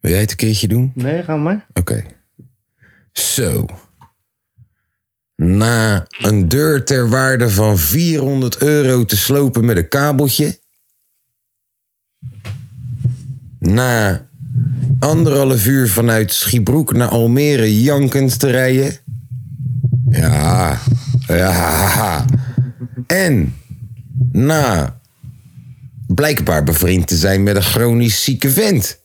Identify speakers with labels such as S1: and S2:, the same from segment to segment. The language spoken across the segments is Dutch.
S1: Wil jij het een keertje doen?
S2: Nee, ga maar.
S1: Oké. Zo. Na een deur ter waarde van 400 euro te slopen met een kabeltje. Na anderhalf uur vanuit Schiebroek naar Almere jankend te rijden. Ja, ja. En na blijkbaar bevriend te zijn met een chronisch zieke vent.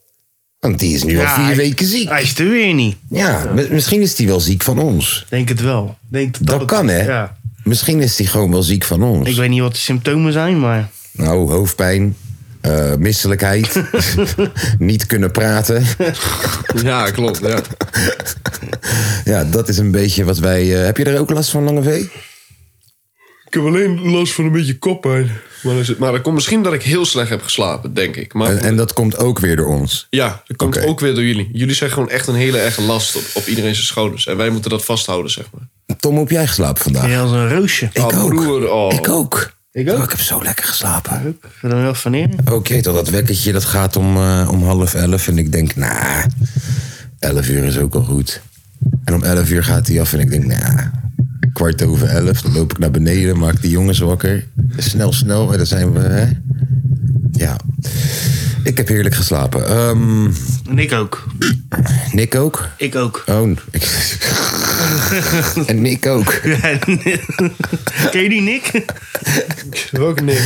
S1: Want die is nu
S2: Ja,
S1: al vier
S2: hij-
S1: weken ziek.
S2: Hij is er weer niet.
S1: Ja, mi- misschien is hij wel ziek van ons.
S2: Denk het wel. Denk dat,
S1: Dat,
S2: het-
S1: kan, hè?
S2: Ja.
S1: Misschien is hij gewoon wel ziek van ons.
S2: Ik weet niet wat de symptomen zijn, maar...
S1: Nou, hoofdpijn, eh, misselijkheid, niet kunnen praten.
S3: Ja, klopt. Ja.
S1: Ja, dat is een beetje wat wij... eh, heb je er ook last van, Lange V?
S3: Ik heb alleen last van een beetje koppijn. Maar, is het, Eh? maar dat komt misschien dat ik heel slecht heb geslapen, denk ik. Maar
S1: En,
S4: Oh.
S1: en dat komt ook weer door ons.
S3: ja, dat komt
S1: Oké.
S3: ook weer door jullie. Jullie zijn gewoon echt een hele erge last op, op iedereen zijn schouders. En wij moeten dat vasthouden, zeg maar.
S1: Tom, hoe heb jij geslapen vandaag?
S2: Ja, als een roosje.
S1: Ik,
S3: Ah,
S1: ook.
S3: broer, oh.
S1: ik ook.
S2: Ik ook.
S1: Oh, ik heb zo lekker geslapen.
S2: Ik wil er wel van neer.
S1: Ook je weet al, dat wekkertje dat gaat om, eh, om half elf. En ik denk, nou, elf uur is ook al goed. En om elf uur gaat hij af en ik denk, nou, kwart over elf. Dan loop ik naar beneden, maak die jongens wakker. Snel, snel, en dan zijn we, hè? Ja. Ik heb heerlijk geslapen. Ehm,
S2: En ik ook.
S1: Nick ook?
S2: Ik ook.
S1: Oh, ik... en Nick ook.
S2: Ken je die, Nick?
S3: Ook niks.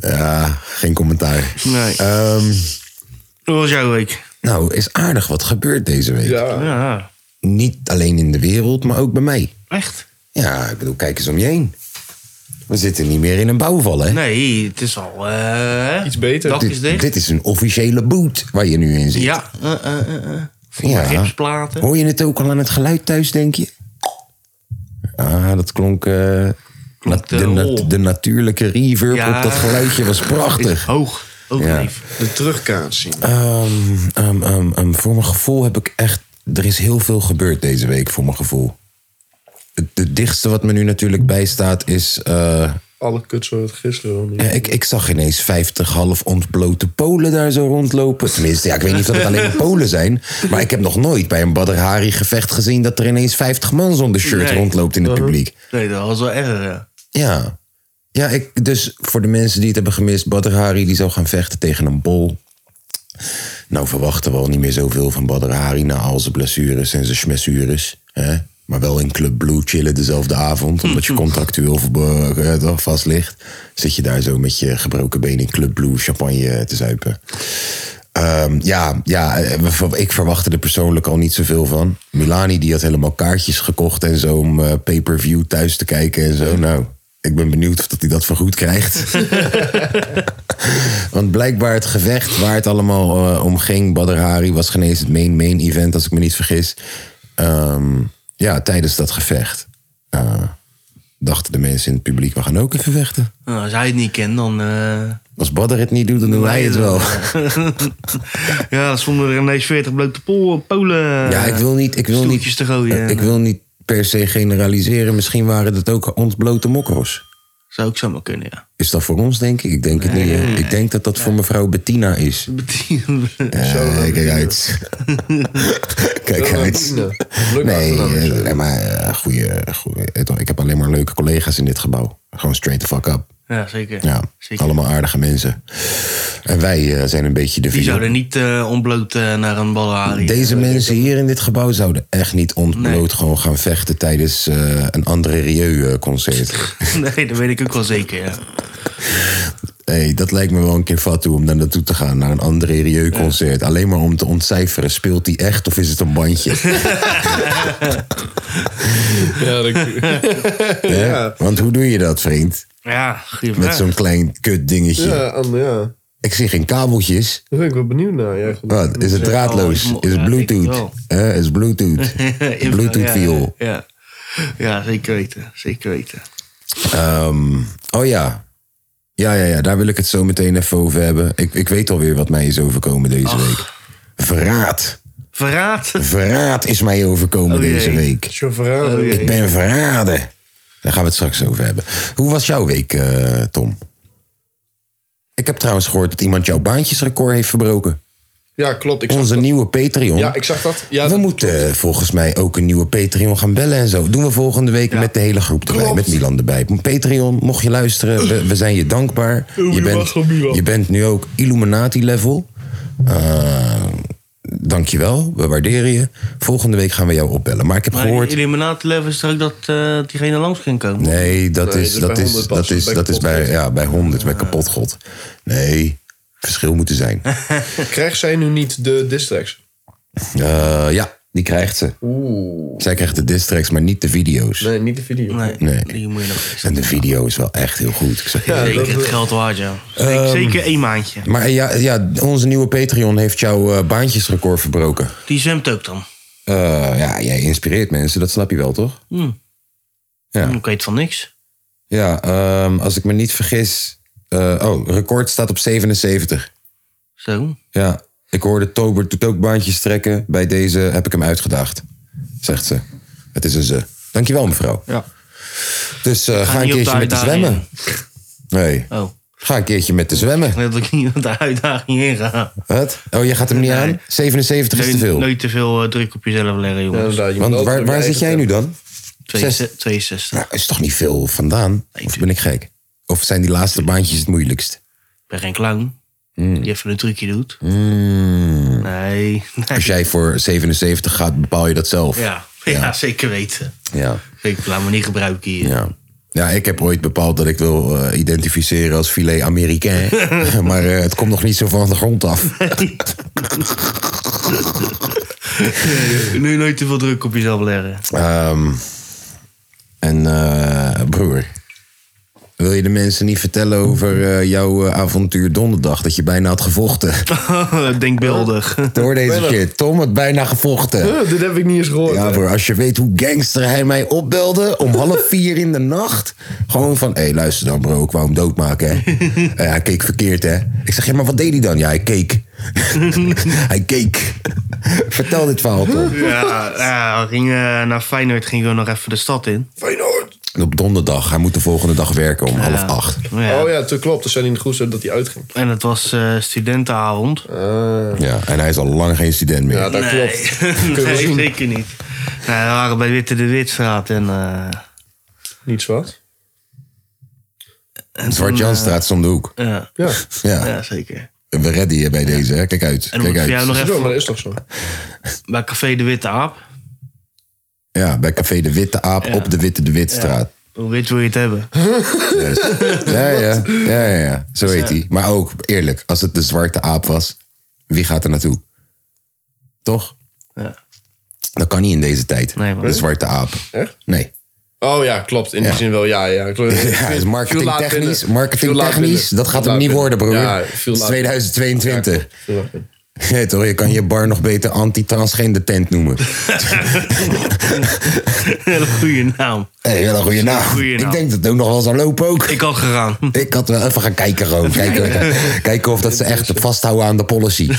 S1: Ja, geen commentaar.
S2: Nee.
S1: Ehm,
S2: Hoe was jouw week?
S1: nou, is aardig wat gebeurd deze week.
S3: Ja.
S2: Ja,
S1: Niet alleen in de wereld, maar ook bij mij.
S2: echt?
S1: Ja, ik bedoel, kijk eens om je heen. We zitten niet meer in een bouwval, hè?
S2: Nee, het is al... eh,
S3: Iets beter.
S2: Dak is
S1: dit,
S2: dicht.
S1: dit is een officiële boot waar je nu in zit.
S2: Ja. eh eh eh, eh.
S1: Ja.
S2: Gipsplaten.
S1: Hoor je het ook al aan het geluid thuis, denk je? Ah, dat klonk... eh, nat- de,
S2: eh,
S1: nat-
S2: hol.
S1: de natuurlijke reverb
S2: Ja.
S1: op dat geluidje was prachtig.
S2: Hoog. Ook
S1: Ja.
S2: lief.
S3: De terugkaart zien.
S1: Ehm, ehm, ehm, ehm, voor mijn gevoel heb ik echt... Er is heel veel gebeurd deze week, voor mijn gevoel. Het, het dichtste wat me nu natuurlijk bijstaat is... eh,
S3: Alle kutsoort gisteren. al niet.
S1: Ja, ik, ik zag ineens 50 half ontblote Polen daar zo rondlopen. Tenminste, ja, ik weet niet of het alleen maar Polen zijn. Maar ik heb nog nooit bij een Badr Hari gevecht gezien... dat er ineens 50 man zonder shirt
S2: Nee.
S1: rondloopt in het publiek.
S2: Nee, dat was wel erger, ja.
S1: Ja. Ja, ik, dus voor de mensen die het hebben gemist... Badr Hari die zou gaan vechten tegen een bol. Nou verwachten we al niet meer zoveel van Badr Hari... na al zijn blessures en zijn schmessures. Hè? Maar wel in Club Blue chillen dezelfde avond... omdat je contractueel verbo- eh, toch vast ligt. Zit je daar zo met je gebroken been in Club Blue champagne te zuipen. Ehm, ja, ja eh, we ver- ik verwachtte er persoonlijk al niet zoveel van. Milani die had helemaal kaartjes gekocht en zo om eh, pay-per-view thuis te kijken en zo. Nou, ik ben benieuwd of dat hij dat vergoed krijgt. Want blijkbaar het gevecht waar het allemaal eh, om ging, Badr Hari, was geen eens het main, main event, als ik me niet vergis. Ehm, ja, tijdens dat gevecht eh, dachten de mensen in het publiek, we gaan ook even vechten.
S2: Nou, als hij het niet kent, dan... eh,
S1: Als Badr het niet doet, dan doen wij het wel.
S2: ja, zonder er ineens 40 blote pol- Polen
S1: Ja, ik wil niet, ik wil niet,
S2: Eh, stoeltjes te gooien.
S1: eh, ik wil niet per se generaliseren. Misschien waren het ook ontblote mokros.
S2: Zou ook zomaar kunnen, ja.
S1: Is dat voor ons, denk ik? Ik denk het niet. hè. Ik denk dat dat voor mevrouw Bettina is. Eh, kijk uit. kijk uit.
S3: Bettina. Leuk
S1: Nee,
S3: achternaam.
S1: eh, nee, maar eh, goeie, goeie. eh, toch, Ik heb alleen maar leuke collega's in dit gebouw. Gewoon straight the fuck up.
S2: ja, zeker.
S1: Ja,
S2: zeker.
S1: allemaal aardige mensen. En wij eh, zijn een beetje de
S2: Die
S1: vier.
S2: zouden niet eh, onbloot eh, naar een ballenharie.
S1: Deze mensen hier in dit gebouw zouden echt niet ontbloot gewoon gaan vechten tijdens eh, een André eh, Rieu-concert.
S2: Nee, dat weet ik ook wel zeker, ja.
S1: hey, dat lijkt me wel een keer fatu om daar naartoe te gaan, naar een André Rieu-concert. Alleen maar om te ontcijferen, speelt hij echt of is het een bandje?
S3: Ja, dat-
S1: Hè? Want hoe doe je dat, vriend?
S2: Ja, goeie
S1: Met
S2: vraag.
S1: zo'n klein kut dingetje.
S3: ja, Anne, ja.
S1: Ik zie geen kabeltjes.
S3: Daar ben ik wel benieuwd naar. Ja, goed.
S1: Wat? Is het draadloos?
S2: Oh, ik-
S1: Is het
S2: ja, ik denk het
S1: Bluetooth? Hè, is het Bluetooth? Bluetooth viool.
S2: Ja, ja. ja, zeker weten. Zeker weten.
S1: Ehm, oh ja. Ja, ja, ja, daar wil ik het zo meteen even over hebben. Ik, ik weet alweer wat mij is overkomen deze week. Verraad.
S2: Verraad.
S1: Verraad is mij overkomen
S2: Oh jee.
S1: deze week.
S3: Chauffeur.
S2: Oh, jee.
S1: Ik ben verraden. Daar gaan we het straks over hebben. Hoe was jouw week, eh, Tom? Ik heb trouwens gehoord dat iemand jouw baantjesrecord heeft verbroken.
S3: Ja, klopt. Ik zag
S1: Onze
S3: dat.
S1: nieuwe Patreon.
S3: Ja, ik zag dat. Ja,
S1: we
S3: dat-
S1: moeten eh, volgens mij ook een nieuwe Patreon gaan bellen en zo. Doen we volgende week met de hele groep erbij.
S3: Klopt.
S1: Met Milan erbij. Patreon, mocht je luisteren, we, we zijn je dankbaar.
S3: Oeh,
S1: je,
S3: je
S1: bent,
S3: mag wel, Milan.
S1: je bent nu ook Illuminati-level. Eh dankjewel, we waarderen je. Volgende week gaan we jou opbellen. Maar ik heb
S2: Maar
S1: gehoord...
S2: Illuminati level is toch ook dat eh, diegene langs ging komen?
S1: Nee, dat
S3: Nee,
S1: is,
S3: dat
S1: dat
S3: bij
S1: is,
S3: 100
S1: dat
S3: pas,
S1: is,
S3: bij
S1: dat is bij,
S3: kapotgod.
S1: ja, bij 100, bij kapotgod. Nee, verschil moet er zijn.
S3: Krijgt zij nu niet de distracts?
S1: Eh, ja, die krijgt ze.
S3: Oeh.
S1: Zij krijgt de distracts, maar niet de video's.
S3: Nee, niet de video.
S2: Nee,
S1: Nee.
S2: die moet je nog eens.
S1: En de video is wel echt heel goed. Ik zeg je.
S3: Ja,
S2: Zeker
S3: dat-
S2: het geld waard, ja. Zeker-
S1: Ehm,
S2: Zeker één maandje.
S1: Maar eh, ja, ja, onze nieuwe Patreon heeft jouw eh, baantjesrecord verbroken.
S2: Die zwemt ook dan.
S1: Eh, ja, jij inspireert mensen, dat snap je wel, toch? Ja.
S2: Ik weet van niks.
S1: Ja, ehm, als ik me niet vergis... eh, oh, record staat op 77.
S2: Zo.
S1: Ja, ik hoorde Tober doet ook baantjes trekken. Bij deze heb ik hem uitgedaagd, zegt ze. Het is een ze. Dankjewel, mevrouw.
S2: Ja.
S1: Dus eh, ga een
S2: niet op
S1: keertje
S2: de
S1: met de
S2: uitdaging
S1: zwemmen. Nee,
S2: Oh.
S1: ga een keertje met de zwemmen.
S2: Net dat ik niet op de uitdaging heen ga.
S1: Wat? Oh, je gaat hem niet
S2: Nee.
S1: aan? 77 is te
S2: Nooit-
S1: veel.
S2: Nooit te veel eh, druk op jezelf leggen,
S3: Ja,
S2: jongens.
S3: inderdaad, je moet
S1: Want
S3: altijd
S1: waar,
S3: op
S1: waar
S3: je
S1: zit
S3: eigen
S1: jij nu dan?
S2: Twee-
S1: zes-
S2: 62.
S1: Nou, is toch niet veel vandaan? Of ben ik gek? Of zijn die laatste baantjes het moeilijkst?
S2: Ik ben geen clown.
S1: Mm.
S2: Die even een trucje doet. Nee. nee.
S1: Als jij voor 77 gaat, bepaal je dat zelf.
S2: Ja. Ja, zeker weten.
S1: Ja.
S2: Ik laat me niet gebruiken hier.
S1: Ja. Ja, ik heb ooit bepaald dat ik wil eh, identificeren als filet Americain. maar eh, het komt nog niet zo van de grond af.
S2: Nu nooit te veel druk op jezelf leggen.
S1: Ehm, en eh, broer, wil je de mensen niet vertellen over eh, jouw eh, avontuur donderdag? Dat je bijna had gevochten.
S2: Denkbeeldig.
S1: Door deze shit. Tom had bijna gevochten.
S3: tijd. Eh, dit heb ik niet eens gehoord.
S1: Ja,
S3: hè.
S1: broer, als je weet hoe gangster hij mij opbelde om half vier in de nacht. Gewoon van, hé, hey, luister dan bro, ik wou hem doodmaken, hè. Eh, hij keek verkeerd, hè. Ik zeg, ja, maar wat deed hij dan? Ja, hij keek. hij keek. Vertel dit verhaal, Tom.
S2: Ja, ja, we gingen eh, naar Feyenoord gingen we nog even de stad in.
S3: Feyenoord.
S1: En Op donderdag, hij moet de volgende dag werken om half acht.
S2: Ja.
S3: Oh ja, toen klopt. Toen zei hij in de groep dat hij uitging.
S2: En het was eh, studentenavond.
S3: Ah.
S1: Ja, en hij is al lang geen student meer.
S3: Ja, dat
S2: nee,
S3: klopt. Kunnen we
S2: nee
S3: zien.
S2: zeker niet. Nee, we waren bij Witte de Witstraat en... eh,
S3: Niet zwart.
S1: Zwart-Janstraat is om de hoek.
S2: ja,
S3: Ja.
S1: Ja,
S2: ja, zeker.
S1: we redden je bij deze, hè. Kijk uit,
S2: En dan
S1: kijk
S2: moet ik voor jou
S1: uit.
S2: nog
S3: Zo, maar
S2: even
S3: dat is toch zo.
S2: bij Café de Witte Aap.
S1: Ja, bij Café de Witte Aap
S2: Ja.
S1: op de Witte de Witstraat.
S2: Hoe wit wil je het hebben?
S1: Ja, ja, ja, ja, ja. Zo heet hij. Maar ook, eerlijk, als het de zwarte aap was, wie gaat er naartoe? Toch?
S2: Ja.
S1: Dat kan niet in deze tijd.
S2: Nee, man.
S1: de zwarte aap.
S3: Echt?
S1: Nee.
S3: Oh ja, klopt. In die
S1: Ja.
S3: zin wel. Ja, ja. Klopt.
S1: Ja,
S3: Viel-
S1: is
S3: viel
S1: marketing
S3: laat binnen.
S1: technisch.
S3: Viel
S1: Marketing
S3: laat
S1: technisch,
S3: binnen.
S1: dat
S3: Viel
S1: gaat hem
S3: laat
S1: niet
S3: binnen.
S1: worden, broer.
S3: Ja,
S1: Het
S3: viel
S1: is
S3: laat binnen.
S1: 2022.
S3: Viel laat binnen.
S1: Nee, toch? Je kan je bar nog beter anti-transgender tent noemen.
S2: Hele goede naam.
S1: Hé, hey, wel een goede naam.
S2: Goeie naam.
S1: Ik denk dat het ook nog wel zou lopen ook.
S2: Ik had gegaan.
S1: Ik had wel even gaan kijken gewoon. Kijken, kijken of dat ze echt vasthouden aan de policy.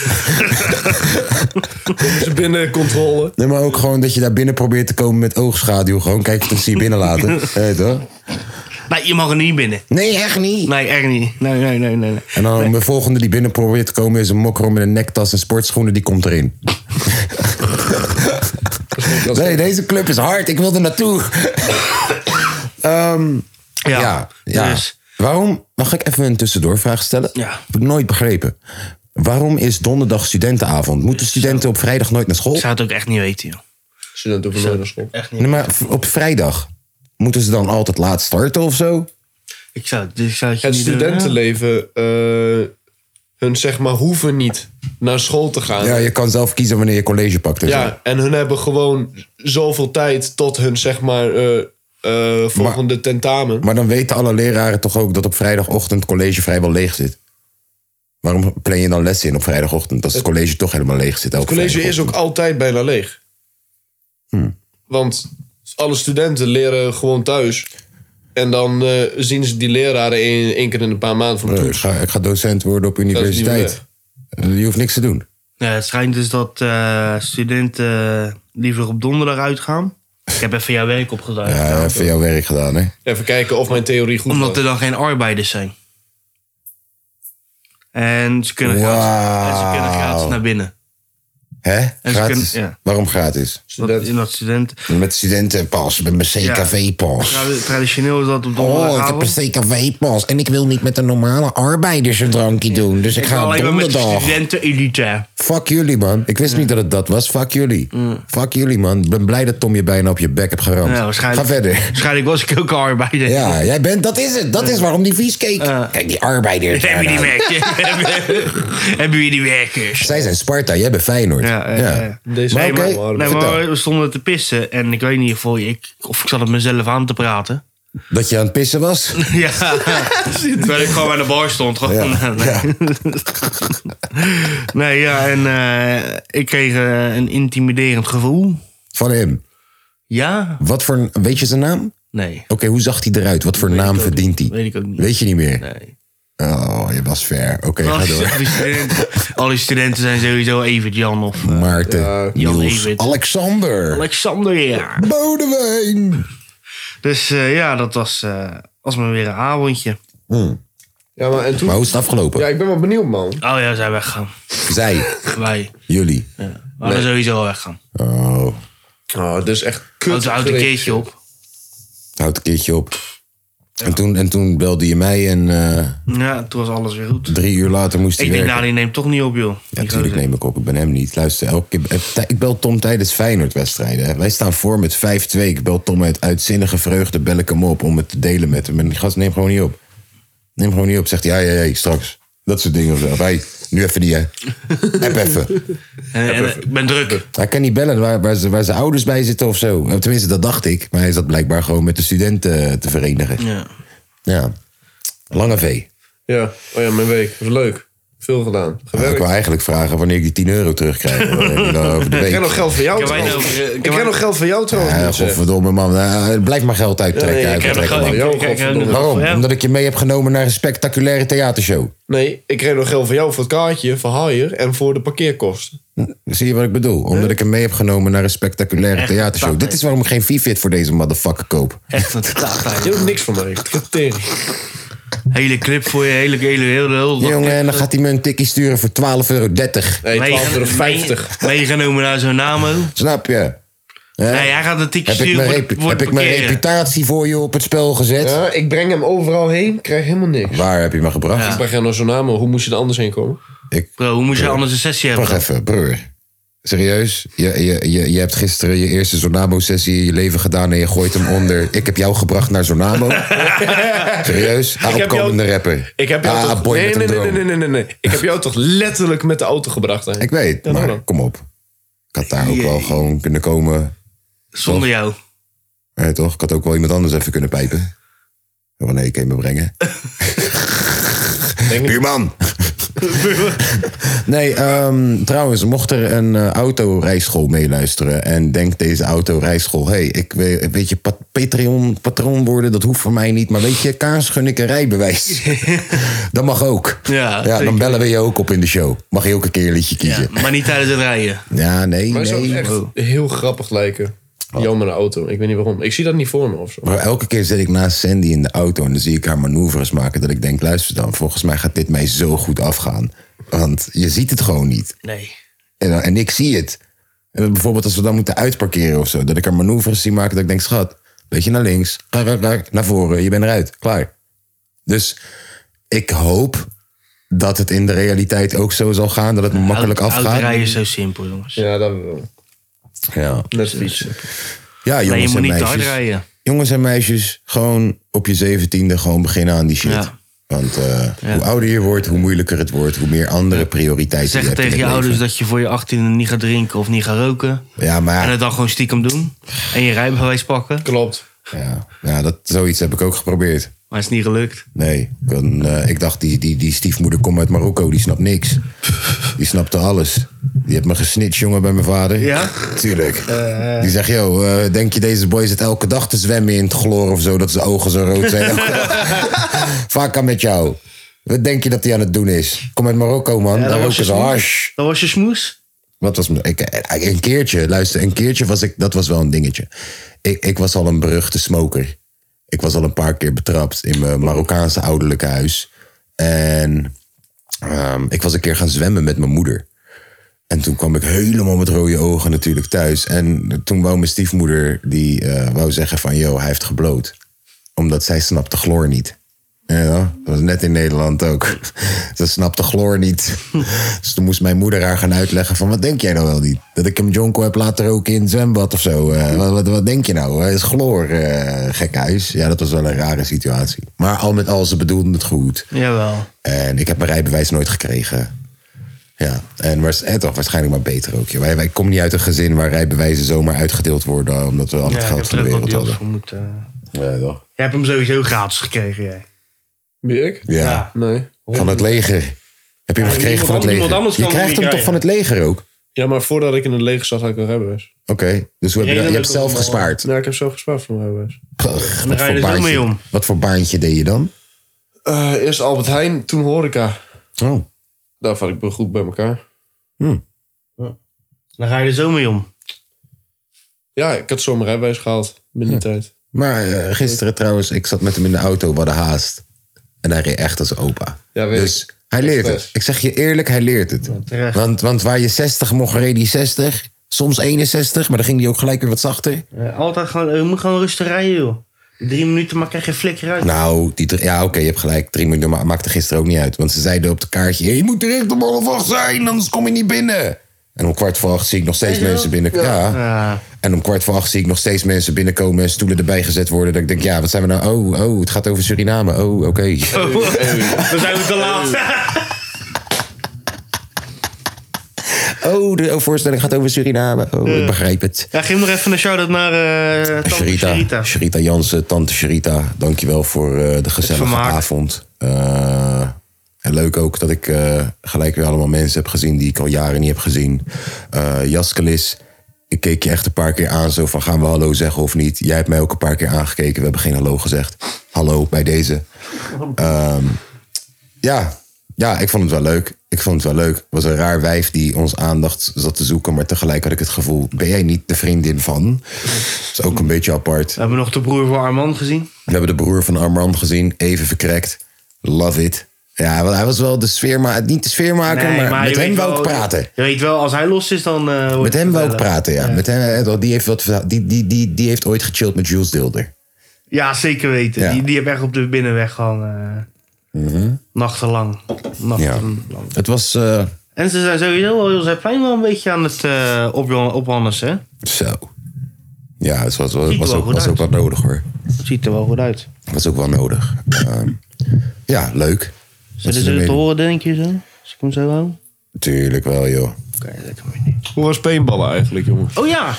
S3: Ze binnen controle.
S1: Nee, maar ook gewoon dat je daar binnen probeert te komen met oogschaduw. Gewoon kijken of ze je binnen laten. Weet je wel?
S2: Nee, je mag er niet binnen.
S1: Nee, echt niet.
S2: Nee, echt niet. Nee, nee, nee, nee. nee.
S1: En dan de volgende die binnen probeert te komen is een mokro met een nektas en sportschoenen. Die komt erin. Nee, deze club is hard. Ik wil er naartoe. Ehm,
S2: Ja,
S1: ja, ja.
S2: Dus,
S1: Waarom, mag ik even een tussendoorvraag stellen?
S2: Ja.
S1: Heb ik nooit begrepen. Waarom is donderdag studentenavond? Moeten studenten op vrijdag nooit naar school?
S2: ik zou het ook echt niet weten, joh.
S3: Ze doen het over nooit naar school.
S2: Echt
S1: Nee, maar v- op vrijdag moeten ze dan altijd laat starten of zo?
S2: Ik zou, dus ik zou het je
S3: Het
S2: niet doen.
S3: studentenleven, eh, hun zeg maar hoeven niet naar school te gaan.
S1: Ja, je kan zelf kiezen wanneer je college pakt. en zo.
S3: Ja, en hun hebben gewoon zoveel tijd tot hun zeg maar eh, eh, volgende tentamen.
S1: Maar dan weten alle leraren toch ook dat op vrijdagochtend college vrijwel leeg zit. Waarom plan je dan lessen in op vrijdagochtend als het college toch helemaal leeg zit?
S4: Het college is ook altijd bijna leeg. Hmm. Want alle studenten leren gewoon thuis. En dan eh, zien ze die leraren één, één keer in een paar maanden van
S1: Eh, Ik
S4: toets.
S1: ga, ik ga docent worden op universiteit. Eh, Je hoeft niks te doen.
S2: Ja, het schijnt dus dat eh, studenten eh, liever op donderdag uitgaan. Ik heb even jouw werk opgeduid.
S1: Ja, even Eh, jouw werk gedaan, hè?
S4: Even kijken of mijn theorie goed
S2: Omdat er
S4: was.
S2: dan geen arbeiders zijn. En ze kunnen,
S1: Wauw.
S2: gratis, en ze kunnen gratis naar binnen.
S1: Hè?
S2: ze
S1: Gratis?
S2: kunnen- ja.
S1: Waarom gratis?
S2: Dat,
S4: Studenten.
S2: dat student.
S1: Met studentenpas, met mijn CKV-pas.
S2: Tradi- Traditioneel is dat op
S1: Oh, ik heb
S2: donderdagavond.
S1: een CKV-pas. En ik wil niet met een normale arbeiders een drankje doen. Dus ik, ga op
S2: alleen maar met de
S1: donderdag.
S2: studenten-elite.
S1: Fuck jullie, man. Ik wist niet dat het dat was. Fuck jullie. Fuck jullie, man. Ik ben blij dat Tom je bijna op je bek hebt geramd.
S2: Mm. Ja, waarschijnlijk,
S1: Ga verder.
S2: Waarschijnlijk was ik ook een arbeider.
S1: Ja, jij bent, dat is het. Dat
S2: Mm.
S1: is waarom die vies keek. Kijk, die arbeiders.
S2: Hebben jullie
S1: Ja, nou,
S2: werkers? Hebben jullie werkers?
S1: Zij zijn Sparta, jij bent Feyenoord.
S2: Ja, ja, ja, ja.
S4: Deze
S1: Maar
S2: Nee,
S1: oké,
S2: maar, nee,
S1: vertel.
S2: maar we stonden te pissen en ik weet niet of ik, of ik zat op mezelf aan te praten.
S1: Dat je aan het pissen was?
S2: Ja, terwijl ik gewoon bij de bar stond. Gewoon. Nee.
S1: Ja.
S2: Nee, ja, en eh, ik kreeg eh, een intimiderend gevoel.
S1: Van hem.
S2: Ja?
S1: Wat voor, weet je zijn naam? Oké,
S2: Nee,
S1: hoe zag hij eruit? Wat voor naam verdient hij?
S2: weet ik ook niet.
S1: Weet je niet meer?
S2: Nee. Oh,
S1: Oh, je was ver. Oké,
S2: Alle,
S1: ga door.
S2: studenten, alle studenten zijn sowieso even Jan of eh,
S1: Maarten,
S2: Jan
S1: Niels,
S2: Evert.
S1: Alexander,
S2: Alexander, ja.
S1: Bodewijn.
S2: Dus eh, ja, dat was, eh, was maar weer een avondje.
S4: Ja, maar en toen...
S1: Maar hoe is het afgelopen?
S4: Ja, ik ben wel benieuwd, man.
S2: Oh ja, we zijn weggegaan.
S1: Zij,
S2: Wij
S1: jullie.
S2: we hadden sowieso al weggaan.
S1: Oh,
S4: Oh, dit is echt kut.
S2: Want ze houdt een keertje op.
S1: houd een nou, keertje op. En, toen, en toen belde je mij en eh,
S2: Ja, toen was alles weer goed.
S1: drie uur later moest hij
S2: Ik denk,
S1: werken.
S2: nou, die neemt toch niet op, joh.
S1: Ja, natuurlijk neem ik op. Ik ben hem niet. Luister, elke keer, eh, tij- ik bel Tom tijdens Feyenoord-wedstrijden. hè. Wij staan voor met 5-2. Ik bel Tom uit uitzinnige vreugde. Bel ik hem op om het te delen met hem. En die gast neemt gewoon niet op. Neem gewoon niet op. Zegt hij, ja, ja, ja, straks. Dat soort dingen of zo. Of hij, nu even die, hè. App even.
S2: En- en- ik ben druk.
S1: Hij kan niet bellen waar, waar, ze- waar zijn ouders bij zitten of zo. Eh, Tenminste, dat dacht ik. Maar hij zat blijkbaar gewoon met de studenten eh, te verenigen.
S2: Ja.
S1: Ja. Lange V.
S4: Ja. Oh ja, mijn week. Was leuk. Veel gedaan.
S1: Nou, ik
S4: Gewerkt.
S1: wil eigenlijk vragen wanneer ik die 10 euro terugkrijg. eh, die dan over de week.
S4: Ik heb nog geld voor jou
S2: Kan wij
S4: trouwens.
S2: nou, eh, kan
S4: Ik
S2: wij-
S4: heb nog geld voor jou trouwens.
S1: Ja,
S4: moet ik zeggen.
S1: godverdomme man. Nou, blijf maar geld uittrekken.
S4: Nee, ik
S2: Ik heb
S1: uittrekken, man.
S2: nog- ik-
S4: man.
S2: ik- ik- ik- ik-
S4: Godverdomme.
S1: Waarom?
S2: Ja.
S1: Omdat ik je mee heb genomen naar een spectaculaire theatershow.
S4: Nee, ik kreeg nog geld voor jou voor het kaartje, voor hire en voor de parkeerkosten.
S1: Zie je wat ik bedoel? Omdat ik hem mee heb genomen naar een spectaculaire theatershow.
S2: een
S1: Dit is waarom ik geen V-fit voor deze motherfucker koop.
S2: Echt een taart.
S4: Je doet niks voor mij. Tering.
S2: Hele clip voor je, hele, hele, hele, hele dag.
S1: Jongen, en dan gaat hij me een tikkie sturen voor 12,30 euro.
S4: Nee,
S2: Meege-
S4: 12,50 euro.
S2: mee- Meegenomen naar zo'n namo.
S1: Snap je? Hè?
S2: Nee, hij gaat een tikje
S1: heb ik
S2: sturen
S1: mijn,
S2: voor
S1: repu-
S2: voor
S1: heb
S2: het
S1: ik mijn
S2: parkeren.
S1: reputatie voor je op het spel gezet?
S4: Ja, ik breng hem overal heen, krijg helemaal niks.
S1: Waar heb je me gebracht?
S4: Ik ben geen zo'n naam, hoe moest je er anders heen komen?
S1: Ik,
S2: Bro, hoe moet je anders een sessie
S1: wacht
S2: hebben?
S1: even, broer. Serieus? Je, je, je, je hebt gisteren je eerste Zonamo-sessie in je leven gedaan en je gooit hem onder. Ik heb jou gebracht naar Zonamo. Serieus? Ah,
S4: heb
S1: opkomende
S4: jou-
S1: rapper.
S4: Ik heb jou
S1: ah,
S4: toch...
S1: boy
S4: nee,
S1: met
S4: nee,
S1: een
S4: nee, nee,
S1: droom.
S4: nee, nee, nee, nee. Ik heb jou toch letterlijk met de auto gebracht. Hè?
S1: Ik weet,
S4: Ja,
S1: maar
S4: waarom?
S1: kom op. Ik had daar ook wel gewoon kunnen komen.
S2: Zonder jou.
S1: Hè, Eh, toch? Ik had ook wel iemand anders even kunnen pijpen. Wanneer nee, ik kan je me brengen.
S4: Denk ik.
S1: Buurman! nee, ehm, trouwens, mocht er een eh, autorijschool meeluisteren... en denkt deze autorijschool... hé, hey, ik weet, weet je, pat- Patreon, patroon worden, dat hoeft voor mij niet... maar weet je, kaas gun ik een rijbewijs. dat mag ook.
S2: Ja,
S1: dan
S2: zeker.
S1: bellen we je ook op in de show. Mag je ook een keer een liedje
S2: Ja,
S1: kiezen. Ja,
S2: maar niet tijdens het rijden.
S1: nee,
S4: Maar zou
S1: nee. Oh.
S4: het echt heel grappig lijken. Jou met een auto. Ik weet niet waarom. Ik zie dat niet voor me of zo.
S1: Maar elke keer zit ik naast Sandy in de auto en dan zie ik haar manoeuvres maken. Dat ik denk, luister dan, volgens mij gaat dit mij zo goed afgaan. Want je ziet het gewoon niet.
S2: Nee.
S1: En, dan- en ik zie het. En dat bijvoorbeeld als we dan moeten uitparkeren of zo. Dat ik haar manoeuvres zie maken dat ik denk, schat, beetje naar links. Krak, krak, krak, naar voren, je bent eruit. Klaar. Dus ik hoop dat het in de realiteit ook zo zal gaan. Dat het me makkelijk
S2: Auto- Autorijden
S1: afgaat.
S2: is zo simpel, jongens.
S4: Ja, dat wel.
S1: Ja,
S4: Net fietsen.
S1: ja
S2: nee, je
S1: jongens
S2: moet niet
S1: en
S2: te hard
S1: meisjes.
S2: rijden.
S1: jongens en meisjes, gewoon op je zeventiende gewoon beginnen aan die shit.
S2: Ja.
S1: Want eh, hoe ouder je wordt, hoe moeilijker het wordt, hoe meer andere prioriteiten je
S2: Zeg
S1: hebt. in
S2: tegen je
S1: het leven.
S2: ouders dat je voor je 18e niet gaat drinken of niet gaat roken.
S1: Ja, maar
S2: En
S1: ja,
S2: het dan gewoon stiekem doen. En je rijbewijs pakken.
S4: Klopt.
S1: ja, dat, zoiets heb ik ook geprobeerd.
S2: Maar het is niet gelukt.
S1: Nee, ik, had een, eh, ik dacht, die, die, die stiefmoeder komt uit Marokko, die snapt niks. Die snapte alles. Die heeft me gesnitcht, jongen, bij mijn vader.
S2: Ja?
S1: Tuurlijk. Die zegt, joh, eh, denk je deze boy zit elke dag te zwemmen in het chloor of zo, dat zijn ogen zo rood zijn? Vaak kan met jou. Wat denk je dat hij aan het doen is? Kom uit Marokko, man.
S2: Ja,
S1: Daar
S2: was je
S1: roken ze
S2: smoes.
S1: hash.
S2: Dat was je smoes?
S1: Wat was mijn- ik, ik- een keertje, luister, een keertje was ik, dat was wel een dingetje. Ik, ik was al een beruchte smoker. Ik was al een paar keer betrapt in mijn Marokkaanse ouderlijke huis. En ehm, ik was een keer gaan zwemmen met mijn moeder. En toen kwam ik helemaal met rode ogen natuurlijk thuis. En toen wou mijn stiefmoeder, die eh, wou zeggen van... yo, hij heeft gebloot. Omdat zij snapte chloor niet. Ja, dat was net in Nederland ook. Ze snapte chloor niet. Dus toen moest mijn moeder haar gaan uitleggen van... wat denk jij nou wel niet? Dat ik hem jonko heb laten roken in het zwembad of zo.
S2: Hmm.
S1: Eh, wat, wat, wat denk je nou? Het is chloor, eh gek huis. Ja, dat was wel een rare situatie. Maar al met al, ze bedoelden het goed.
S2: Jawel.
S1: En ik heb mijn rijbewijs nooit gekregen. Ja, en was het toch waarschijnlijk maar beter ook. joh. Wij, wij komen niet uit een gezin waar rijbewijzen zomaar uitgedeeld worden... omdat we al
S2: Ja,
S1: het
S2: ik
S1: geld
S2: heb
S1: van
S2: er
S1: de
S2: ook wat
S1: wereld
S2: deels
S1: hadden.
S2: voor moeten.
S1: Ja, toch?
S2: Jij hebt hem sowieso gratis gekregen, jij.
S4: Wie ik?
S1: Ja.
S4: Nee.
S1: Van het leger. Heb je hem gekregen
S3: iemand
S1: van het
S3: anders-
S1: leger?
S3: iemand anders
S1: Je
S3: kan hem
S1: krijgt
S3: niet
S1: hem toch van het leger ook?
S4: Ja, maar voordat ik in het leger zat, had ik een rijbewijs.
S1: Oké, dus hoe heb je, dat? je hebt zelf gespaard.
S4: Nou, ik heb zelf gespaard voor een rijbewijs.
S1: Pff,
S2: daar
S1: wat,
S2: eh,
S1: voor
S2: ga je dus ook mee
S1: baantje,
S2: om.
S1: wat voor baantje deed je dan?
S4: Eh, eerst Albert Heijn, toen horeca.
S1: Oh,
S4: Daar val ik wel goed bij elkaar.
S2: Dan ga je er zo mee om.
S4: Ja, ik had zo mijn rijbewijs gehaald. Binnen die tijd.
S1: maar eh, gisteren trouwens, ik zat met hem in de auto, we hadden haast. En hij reed echt als opa.
S4: Ja, weet
S1: dus
S4: ik.
S1: hij leert het.
S4: Expres.
S1: Ik zeg je eerlijk, hij leert het.
S2: terecht.
S1: Want, want waar je 60 mocht, reed hij 60. Soms 61, maar dan ging hij ook gelijk weer wat zachter.
S2: Eh, altijd gewoon, je moet gewoon rustig rijden, joh. Drie minuten, maar krijg je flikker uit.
S1: Nou, die drie- ja, oké, je hebt gelijk. Drie minuten ma- maakte gisteren ook niet uit. Want ze zeiden op het kaartje: "Hey, je moet er echt om half acht zijn, anders kom je niet binnen. En om kwart voor acht zie ik nog steeds mensen binnenkomen. Ja.
S2: Ah,
S1: En om kwart voor acht zie ik nog steeds mensen binnenkomen en stoelen erbij gezet worden. Dat ik denk, ja, wat zijn we nou? Oh, oh, het gaat over Suriname. Oh, oké.
S2: dan zijn we te laat.
S1: Oh, de voorstelling gaat over Suriname. Oh, ik begrijp het.
S2: Ja, geef nog even een shout-out naar eh Tante
S1: Sharita.
S2: Sharita.
S1: Sharita Jansen, tante Sharita. Dankjewel voor eh, de gezellige
S2: vermaak.
S1: avond. Eh, en leuk ook dat ik eh, gelijk weer allemaal mensen heb gezien... die ik al jaren niet heb gezien. Eh Jaskelis, ik keek je echt een paar keer aan. Zo van, gaan we hallo zeggen of niet? Jij hebt mij ook een paar keer aangekeken. We hebben geen hallo gezegd. Hallo, bij deze. Ehm, ja. ja, ik vond het wel leuk. Ik vond het wel leuk. Het was een raar wijf die ons aandacht zat te zoeken. Maar tegelijk had ik het gevoel, ben jij niet de vriendin van? Dat is ook een beetje apart.
S2: We hebben nog de broer van Armand gezien.
S1: We hebben de broer van Armand gezien. Even verkrekt. Love it. Ja, want hij was wel de sfeermaker. Niet de sfeermaker,
S2: Nee,
S1: maar, met
S2: je
S1: hem
S2: weet
S1: wou ik
S2: wel-
S1: praten.
S2: Je weet wel, als hij los is, dan... eh, hoor
S1: Met
S2: je
S1: hem
S2: het
S1: wou ik
S2: vertellen.
S1: praten, ja. Met hem, eh, die, heeft wat, verhaal- die, die, die, die heeft ooit gechilled met Jules Dilder.
S2: Ja, zeker weten.
S1: Ja. Mhm.
S2: Die, die heb echt op de binnenweg gehangen. eh, Nachtenlang. Nachtenlang.
S1: Het was eh,
S2: En ze zijn sowieso al heel Zeppelin wel een beetje aan het eh op, ophannes, hè?
S1: zo. Ja, het was, was,
S2: Ziet er
S1: was,
S2: wel
S1: ook,
S2: goed
S1: was
S2: uit.
S1: ook wel nodig hoor.
S2: Het ziet er wel goed uit.
S1: Was ook wel nodig. Ehm, ja, leuk. Wat
S2: Zullen
S1: ze
S2: ze het
S1: ermee
S2: horen, denk je zo? Als ik hem zo hou?
S1: doen. Tuurlijk wel, joh.
S2: Oké, dat kan maar niet.
S4: Hoe was peenballen eigenlijk, jongens?
S2: Oh ja,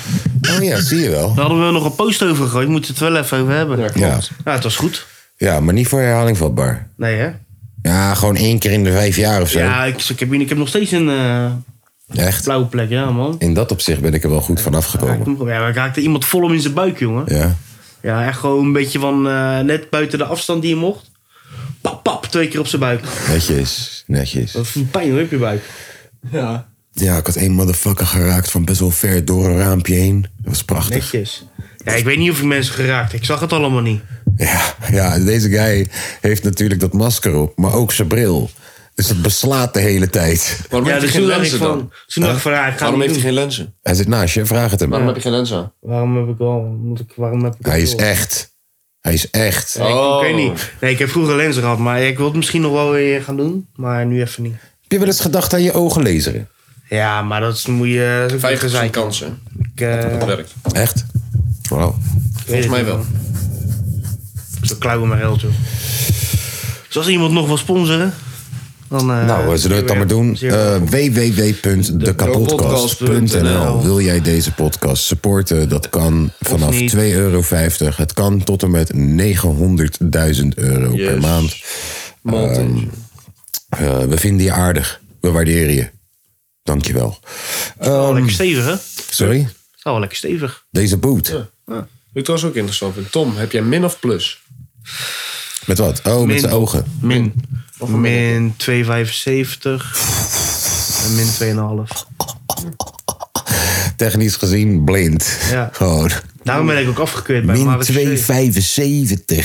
S1: Oh ja, zie je wel.
S2: daar hadden we nog een post over gegooid. Moeten we het wel even over hebben. Ja,
S1: Ja.
S2: Nou, het was goed.
S1: ja, maar niet voor herhaling vatbaar.
S2: Nee, hè?
S1: Ja, gewoon één keer in de vijf jaar of zo.
S2: Ja, ik, ik, heb, hier- ik heb nog steeds een eh,
S1: Echt.
S2: blauwe plek, ja, man.
S1: In dat opzicht ben ik er wel goed van afgekomen.
S2: Ja, maar ik raakte iemand vol om in zijn buik, jongen.
S1: Ja.
S2: Ja, echt gewoon een beetje van eh, net buiten de afstand die je mocht. Pap, pap, twee keer op zijn buik.
S1: Netjes, netjes.
S2: Wat een pijn hoor, op je buik.
S1: Ja, ik had één motherfucker geraakt van best wel ver door een raampje heen. Dat was prachtig.
S2: Netjes. Ja, ik weet niet of ik mensen geraakt. Ik zag het allemaal niet.
S1: Ja, ja, deze guy heeft natuurlijk dat masker op, maar ook zijn bril. Dus dat beslaat de hele tijd.
S4: Waarom
S2: ja,
S4: heeft
S2: dus
S4: hij
S2: toen
S4: geen
S2: dacht ik
S4: lenzen dan?
S2: van, toen dacht ik van, ja, ik ga het
S4: Waarom
S2: niet
S4: heeft hij
S2: doen.
S4: geen lenzen?
S1: Hij zit naast je, vraag het hem.
S4: Waarom heb je geen lenzen aan?
S2: Waarom heb ik al, moet ik, waarom heb ik
S1: Hij is
S2: echt.
S1: echt. Hij is echt.
S2: Ik,
S4: Oh.
S2: ik weet niet. Nee, ik heb vroeger lenzen gehad, maar ik wil het misschien nog wel weer gaan doen. Maar nu even niet.
S1: Heb je wel eens gedacht aan je ogen lezen?
S2: Ja, maar dat is, moet je... dat moet je zijn.
S4: 50% kansen.
S2: Ik, eh,
S4: Dat werkt.
S1: Echt? Wauw.
S2: ik weet het
S4: mij
S2: niet,
S4: wel.
S2: man. Ik klauwen mijn geld, joh. Dus als iemand nog wil sponsoren... Dan, eh,
S1: Nou, eh, zullen we het dan maar doen?
S2: Zeer
S1: Eh www.dekapodcast.nl
S2: eh,
S1: Wil jij deze podcast supporten? Dat kan vanaf 2,50
S2: niet.
S1: euro. Het kan tot en met 900.000 euro per
S4: Yes.
S1: maand. Ehm,
S4: Maltese.
S1: Eh, we vinden je aardig. We waarderen je. Dankjewel.
S2: Zou wel
S1: Ehm,
S2: lekker stevig, hè?
S1: sorry?
S2: Zou wel lekker stevig.
S1: Deze boot.
S4: Wat Ik trouwens ook interessant vind. Tom, heb jij min of plus?
S1: Met wat? Oh, met
S2: Min.
S1: zijn ogen.
S2: Min. Min 2,75. En min 2,5.
S1: Technisch gezien blind. Oh.
S2: Ja.
S1: Gewoon.
S2: Daarom ben ik ook afgekeurd bij
S1: Min
S2: Maris
S1: 2,75.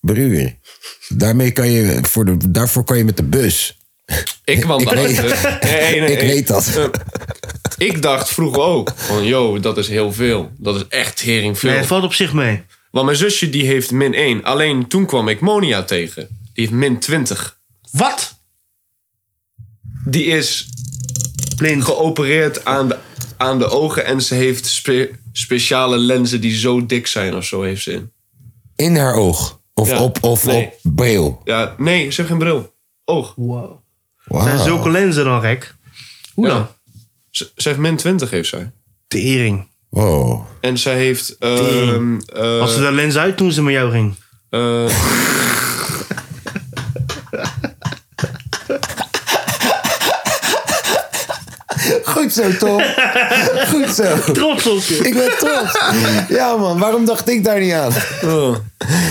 S1: Broer. Daarmee kan je, voor de, daarvoor kan je met de bus.
S4: Ik kwam
S1: Ik
S4: daarachter. Nee, nee, Eh,
S1: Ik weet dat.
S4: Ik dacht vroeger ook van, yo, dat is heel veel. Dat is echt tering veel.
S2: Nee, het valt op zich mee.
S4: Want mijn zusje die heeft min 1. Alleen toen kwam ik Monia tegen. Die heeft min 20.
S2: Wat?
S4: Die is
S2: Blind.
S4: geopereerd aan de, aan de ogen en ze heeft spe- speciale lenzen die zo dik zijn of zo heeft ze in.
S1: In haar oog. Of
S4: Ja.
S1: op, of
S4: Nee.
S1: op bril.
S4: Ja, nee, ze heeft geen bril. Oog.
S2: Wow. Zijn
S1: Wauw.
S2: zulke lenzen dan gek? Hoe
S4: Ja.
S2: dan?
S4: Ze, ze heeft min 20 heeft zij.
S2: Tering.
S1: Wow.
S4: En zij heeft... ehm,
S2: Tering.
S4: eh,
S2: Als ze de lens uit toen ze met jou ging.
S4: eh,
S1: Goed zo, Tom. Goed zo.
S2: Trots op je.
S1: Ik ben trots. Ja, man. Waarom dacht ik daar niet aan?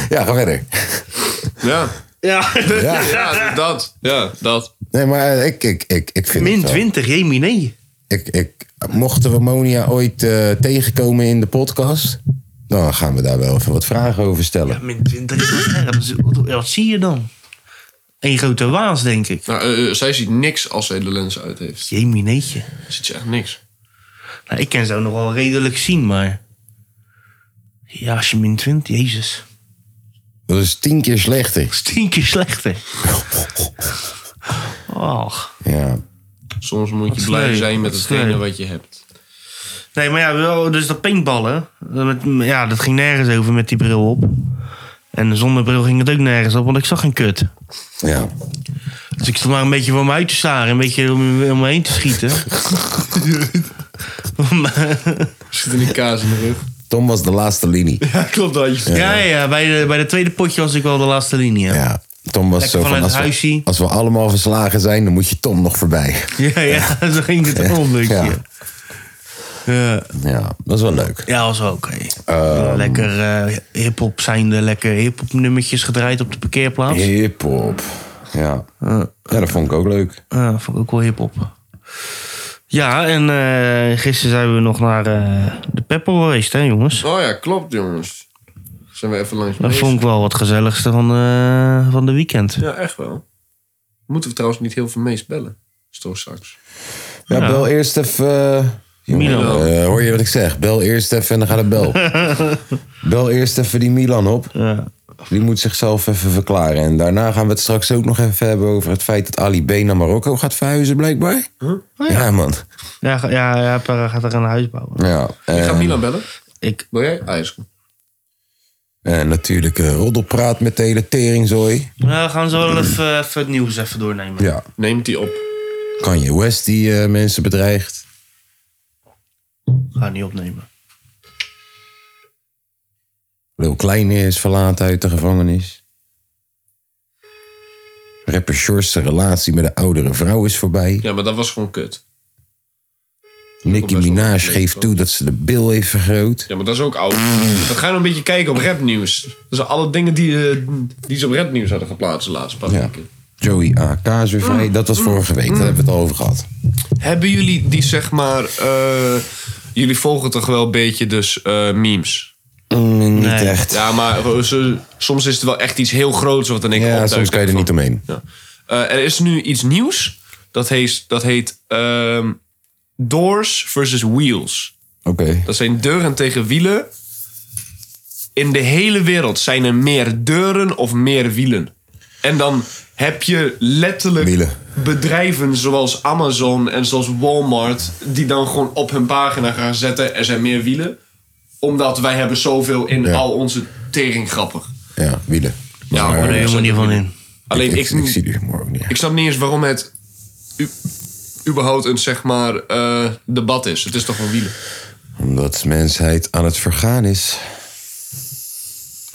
S1: Ja, ga verder.
S4: ja,
S2: Ja.
S1: Ja.
S4: ja, dat. Ja, dat.
S1: Nee, maar eh, ik, ik, ik, ik vind
S2: Min
S1: het wel.
S2: 20, Remy, nee.
S1: Ik, ik, mochten we Monia ooit eh, tegenkomen in de podcast... dan gaan we daar wel even wat vragen over stellen.
S2: Min 20 is wel erg. Dat is- wat- Wat zie je dan? Eén grote waas, denk ik.
S4: Nou, eh, eh, zij ziet niks als zij de lens uit heeft.
S2: Jemineetje.
S4: Ziet ze echt niks.
S2: Nou, ik kan zo nog wel redelijk zien, maar... Ja, als je min 20, jezus.
S1: Dat is tien keer slechter.
S2: Tien keer slechter. Och.
S1: Ja.
S4: Soms moet je
S2: is
S4: blij
S2: leuk.
S4: zijn met
S2: Dat is
S4: hetgene
S2: leuk.
S4: wat je hebt.
S2: Nee, maar ja, wel, dus dat paintballen. eh, met- ja, dat ging nergens over met die bril op. En zonder bril ging het ook nergens op, want ik zag geen kut.
S1: Ja.
S2: Dus ik stond maar een beetje voor me uit te staren. Een beetje om, om me heen te schieten.
S4: Schiet in die kaas in de rug.
S1: Tom was de laatste linie.
S4: Ja, klopt dat. Je...
S2: ja, ja, bij de, bij de tweede potje was ik wel de laatste linie. Ja,
S1: Ja. Tom was
S2: Lekker
S1: zo van,
S2: vanuit
S1: als
S2: het huis
S1: we,
S2: zien.
S1: als we allemaal verslagen zijn... dan moet je Tom nog voorbij.
S2: ja, ja, zo ging het wel een beetje.
S1: Ja.
S2: Ja. Ja.
S1: Ja, dat is wel leuk.
S2: was wel oké. lekker eh, hip-hop zijnde, lekker hip-hop nummertjes gedraaid op de parkeerplaats. Eh,
S1: Hip-hop. Ja. ja, dat vond ik ook leuk.
S2: Ja, dat vond ik ook wel hip-hop. Ja, en eh, gisteren zijn we nog naar eh, de Pepper geweest, hè, jongens?
S4: Oh ja, klopt jongens. Zijn we even langs
S2: Dat
S4: geweest?
S2: vond ik wel het gezelligste van, eh, van de weekend.
S4: Ja, echt wel. Moeten we trouwens niet heel veel meest bellen. Is toch straks.
S1: Ja,
S2: Ja.
S1: bel eerst even... eh, jongen,
S2: Milan.
S1: eh, hoor je wat ik zeg? Bel eerst even en dan gaat het bel. bel eerst even die Milan op.
S2: Ja.
S1: Die moet zichzelf even verklaren. En daarna gaan we het straks ook nog even hebben over het feit... dat Ali B naar Marokko gaat verhuizen, blijkbaar.
S2: Oh
S1: ja. man.
S2: Ja, ga- ja, ja, Perra gaat er een huis bouwen.
S1: Ja,
S4: Ik ga
S1: en-
S4: Milan bellen.
S2: Ik,
S4: Wil jij? Ah, is goed.
S1: En natuurlijk eh, roddelpraat met de hele teringzooi.
S2: nou, we gaan zo wel even, even het nieuws even doornemen.
S1: Ja.
S4: Neemt die op.
S1: Kanye West die eh, mensen bedreigt.
S2: Ga niet opnemen.
S1: Lil Kleine is verlaten uit de gevangenis. Rapper Shorts relatie met een oudere vrouw is voorbij.
S4: Ja, maar dat was gewoon kut.
S1: Nicki
S4: best wel
S1: Minaj
S4: leuk,
S1: geeft
S4: hoor.
S1: toe dat ze de bil heeft vergroot.
S4: Ja, maar dat is ook oud. We gaan een beetje kijken op rapnieuws. Dat zijn alle dingen die, eh, die ze op rapnieuws hadden geplaatst de laatste paar
S1: Ja.
S4: weken.
S1: Joey AK is weer vrij. Dat
S4: Mm.
S1: was vorige week, daar hebben we het al over gehad.
S4: Hebben jullie die zeg maar... eh, jullie volgen toch wel een beetje dus eh, memes?
S1: Mm, niet
S2: Nee.
S1: echt.
S4: Ja, maar eh, ze- soms is het wel echt iets heel groots wat dan ik
S1: Ja, soms kan je er niet omheen.
S4: Ja. Eh, er is nu iets nieuws. Dat heet, dat heet ehm, Doors versus Wheels.
S1: Oké.
S4: Dat zijn deuren tegen wielen. In de hele wereld zijn er meer deuren of meer wielen. En dan heb je letterlijk
S1: Wielen.
S4: bedrijven zoals Amazon en zoals Walmart... die dan gewoon op hun pagina gaan zetten... er zijn meer wielen. Omdat wij hebben zoveel in
S1: Ja.
S4: al onze tering grappig.
S1: Ja, wielen.
S4: Ja,
S1: Maar,
S4: maar
S2: Daar
S4: nee.
S1: eh,
S2: helemaal niet van in.
S4: Alleen
S1: ik,
S4: ik,
S1: ik zie die humor ook niet.
S4: ik snap niet eens waarom het u- überhaupt een zeg maar eh, debat is. Het is toch een wielen.
S1: Omdat mensheid aan het vergaan is.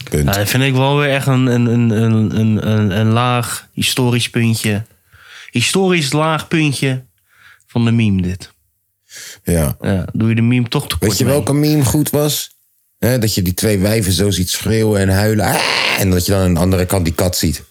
S1: Punt.
S2: Ja, dat vind ik wel weer echt een, een, een, een, een, een, een laag historisch puntje. Historisch laag puntje van de meme dit.
S1: Ja.
S2: Ja, doe je de meme toch tekort
S1: Weet je
S2: mee.
S1: welke meme goed was? Hè, dat je die twee wijven zo ziet schreeuwen en huilen. Ah! En dat je dan aan de andere kant die kat ziet.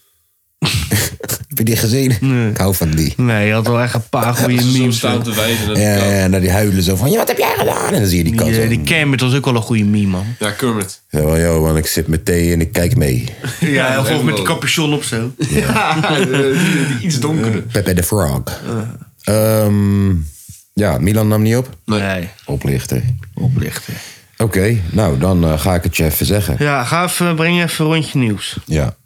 S1: Heb je die gezien? Ik hou van die.
S2: Nee, je had wel echt een paar goede
S4: Zo
S2: memes.
S4: staan te wijzen.
S1: Ja,
S4: Ja,
S1: ja, ja, nou die huilen zo van, ja, wat heb jij gedaan? En dan zie je die kat
S2: Die,
S1: zo.
S2: eh, die Kermit was ook wel een goede meme, man.
S4: ja Kermit.
S1: Ja, wel, joh, want ik zit met thee en ik kijk mee.
S2: Ja,
S4: of
S2: of
S4: ook
S2: met die capuchon op zo.
S4: Ja, die, die iets donkere.
S1: Pepe de Frog. Ehm, ja, Milan nam niet op.
S2: Nee,
S1: Oplichter.
S2: oplichten.
S1: Oké, nou, dan eh, ga ik het je even zeggen.
S2: Ja, ga even, breng even een rondje nieuws.
S1: Ja.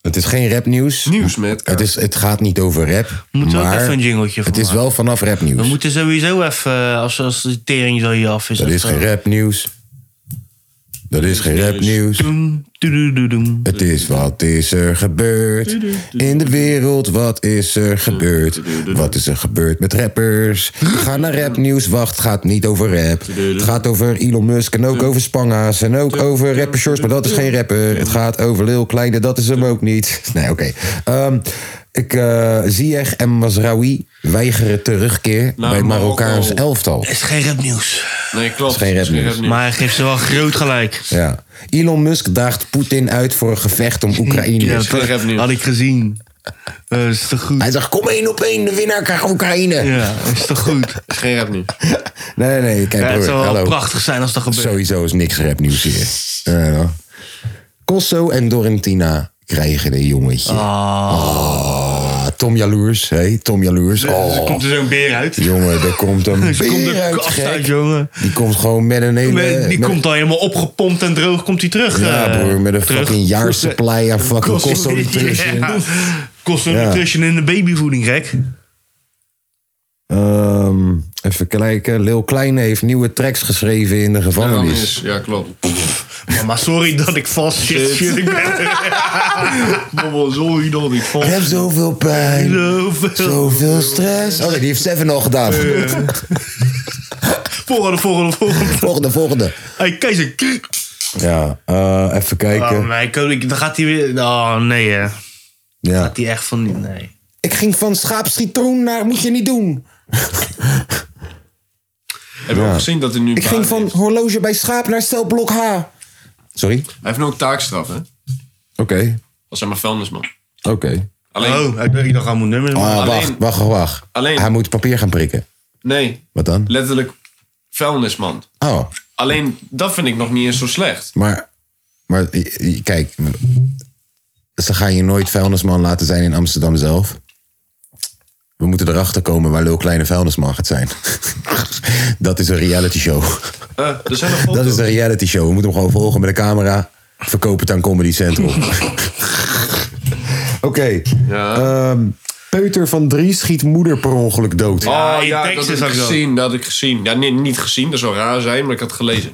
S1: Het is geen rapnieuws.
S4: Nieuws met
S1: Het, is, het gaat niet over rap.
S2: We moeten ook
S1: maar
S2: even een jingletje van
S1: Het is
S2: maken.
S1: wel vanaf
S2: We
S1: rapnieuws.
S2: moeten sowieso even, eh, als, als de tering zo hier af is.
S1: Dat is geen rapnieuws. Dat is geen rapnieuws.
S2: Doedoedoedoem.
S1: Het is wat is er gebeurd in de wereld. Wat is er gebeurd? Wat is er gebeurd met rappers? Ga naar rapnieuws. Wacht, het gaat niet over rap. Het gaat over Elon Musk en ook over Spanga's en ook over rappershorts. Maar dat is geen rapper. Het gaat over Lil Kleine. Dat is hem ook niet. Nee, oké. Ehm, ik eh Ziyech en Masraoui weigeren terugkeer
S4: Naar
S1: bij
S4: Marokko.
S1: Marokkaans elftal.
S2: Het is geen rapnieuws.
S4: Nee, klopt.
S1: geen
S4: Het is
S1: rapnieuws.
S4: rapnieuws.
S2: Maar hij geeft ze wel groot gelijk.
S1: Ja. Elon Musk daagt Poetin uit voor een gevecht om Oekraïne.
S2: Ja,
S4: geen rapnieuws.
S2: had ik gezien. Eh, is toch goed?
S1: Hij zegt, kom één op één, de winnaar krijgt Oekraïne.
S2: Ja, is toch goed?
S4: Geen rapnieuws.
S1: Nee, nee, kijk
S2: Ja, het
S1: broer,
S2: zou wel
S1: hallo.
S2: prachtig zijn als dat gebeurt.
S1: Sowieso is niks rapnieuws hier. Ja, ja. Cosso en Dorentina krijgen een jongetje. Ah, Tom Jaloers, hé, Tom Jaloers.
S2: Dus Er
S1: Oh,
S2: komt er zo'n beer uit. Er
S1: jongen, daar komt een
S2: komt
S1: beer
S2: een
S1: uit,
S2: kast uit,
S1: gek.
S2: jongen.
S1: Die komt gewoon met een hele...
S2: Nee, die
S1: met-
S2: komt al helemaal opgepompt en droog komt hij terug.
S1: Ja,
S2: eh,
S1: broer, met een
S2: terug.
S1: fucking jaarsupply aan fucking Cosso Nutrition.
S2: Ja. Costo
S1: Ja.
S2: Nutrition in de babyvoeding, gek.
S1: Ehm, even kijken, Lil Kleine heeft nieuwe tracks geschreven in de gevangenis.
S4: Rapnieuws. Ja, klopt.
S2: Maar sorry dat ik vast zit.
S4: Shit.
S2: Ik ben
S4: Bobbel, sorry dat ik
S1: Ik
S4: vond.
S1: heb zoveel pijn.
S2: zoveel.
S1: Zoveel stress. Oh nee, die heeft Seven al gedaan.
S2: Volgende, volgende, volgende.
S1: Volgende, volgende.
S2: Hey, keizer.
S1: Ja, eh, even
S2: Oh
S1: kijken.
S2: nee, koning, dan gaat hij weer... Oh nee, hè.
S1: Ja.
S2: Gaat hij echt van... niet- Nee.
S1: Ik ging van schaapschietoon naar moet je niet doen.
S4: Heb je ook gezien dat hij nu...
S1: Ik ging
S4: baan
S1: van
S4: heeft?
S1: horloge bij schaap naar stelblok H. Sorry?
S4: Hij heeft nu ook taakstraf, hè?
S1: Oké,
S4: Als hij maar vuilnisman.
S1: oké.
S4: Alleen...
S2: Oh, ik dacht, ik dacht, hij moet nummers maken.
S1: Ah,
S4: Alleen-
S1: wacht, wacht, wacht.
S4: Alleen-
S1: Hij moet papier gaan prikken.
S4: Nee,
S1: Wat dan?
S4: letterlijk vuilnisman.
S1: Oh,
S4: Alleen, dat vind ik nog niet eens zo slecht.
S1: maar, maar i- i- kijk. Ze gaan je nooit vuilnisman laten zijn in Amsterdam zelf. We moeten erachter komen waar Lil Kleine vuilnisman gaat zijn. Dat is een reality show.
S4: Eh, er zijn nog foto's.
S1: Dat is een reality show. We moeten hem gewoon volgen met de camera. Verkoop het aan Comedy Central. Oké.
S4: Ja.
S1: ehm, Peuter van Drie schiet moeder per ongeluk dood.
S2: Ah,
S4: Oh
S2: in
S4: ja, dat
S2: Texas
S4: heb ik
S2: ook wel.
S4: gezien, dat heb ik gezien. Ja, nee, niet gezien, dat zou raar zijn, maar ik had gelezen.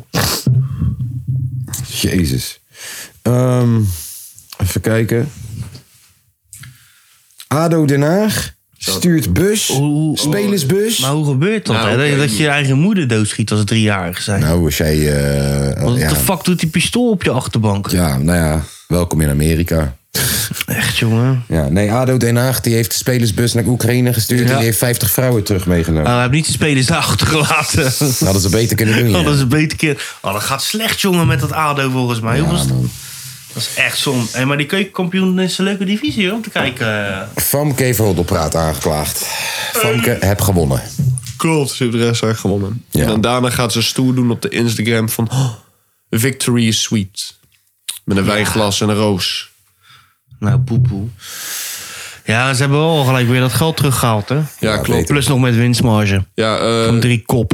S1: Jezus. Ehm, even kijken. ADO Den Haag stuurt bus.
S2: oeh.
S1: Spelersbus.
S2: Maar hoe gebeurt dat,
S4: Nou,
S2: hè? Dat je-
S4: oké.
S2: Dat je je eigen moeder doodschiet als ze driejarig zijn.
S1: Nou, als jij... eh,
S2: Wat
S1: ja,
S2: de fuck doet die pistool op je achterbank?
S1: ja, nou ja. Welkom in Amerika.
S2: Echt, jongen.
S1: Ja, nee, ADO Den Haag die heeft de spelersbus naar Oekraïne gestuurd... en
S2: Ja.
S1: die heeft 50 vrouwen terug meegenomen.
S2: Nou, hij heeft niet de spelers daar achtergelaten.
S1: Dat hadden ze beter kunnen doen, ja.
S2: Oh, dat is een beter keer. Oh, dat gaat slecht, jongen, met dat ADO volgens mij. Hoe was-
S1: man.
S2: dat is echt zon. Hey, maar die keukenkampioen is een leuke divisie hoor, om te kijken.
S1: Famke heeft roddelpraat aangeklaagd. Famke
S2: Ehm.
S1: heb gewonnen.
S4: Klopt, ze heeft de rest haar gewonnen.
S1: Ja.
S4: En dan daarna gaat ze stoer doen op de Instagram van... "Oh, victory is sweet. Met een wijnglas en een roos.
S2: Nou, poepoe. Ja, ze hebben wel gelijk weer dat geld teruggehaald, hè?
S4: Ja, klopt.
S1: beter.
S2: Plus nog met winstmarge.
S4: Ja, eh,
S2: Van drie kop.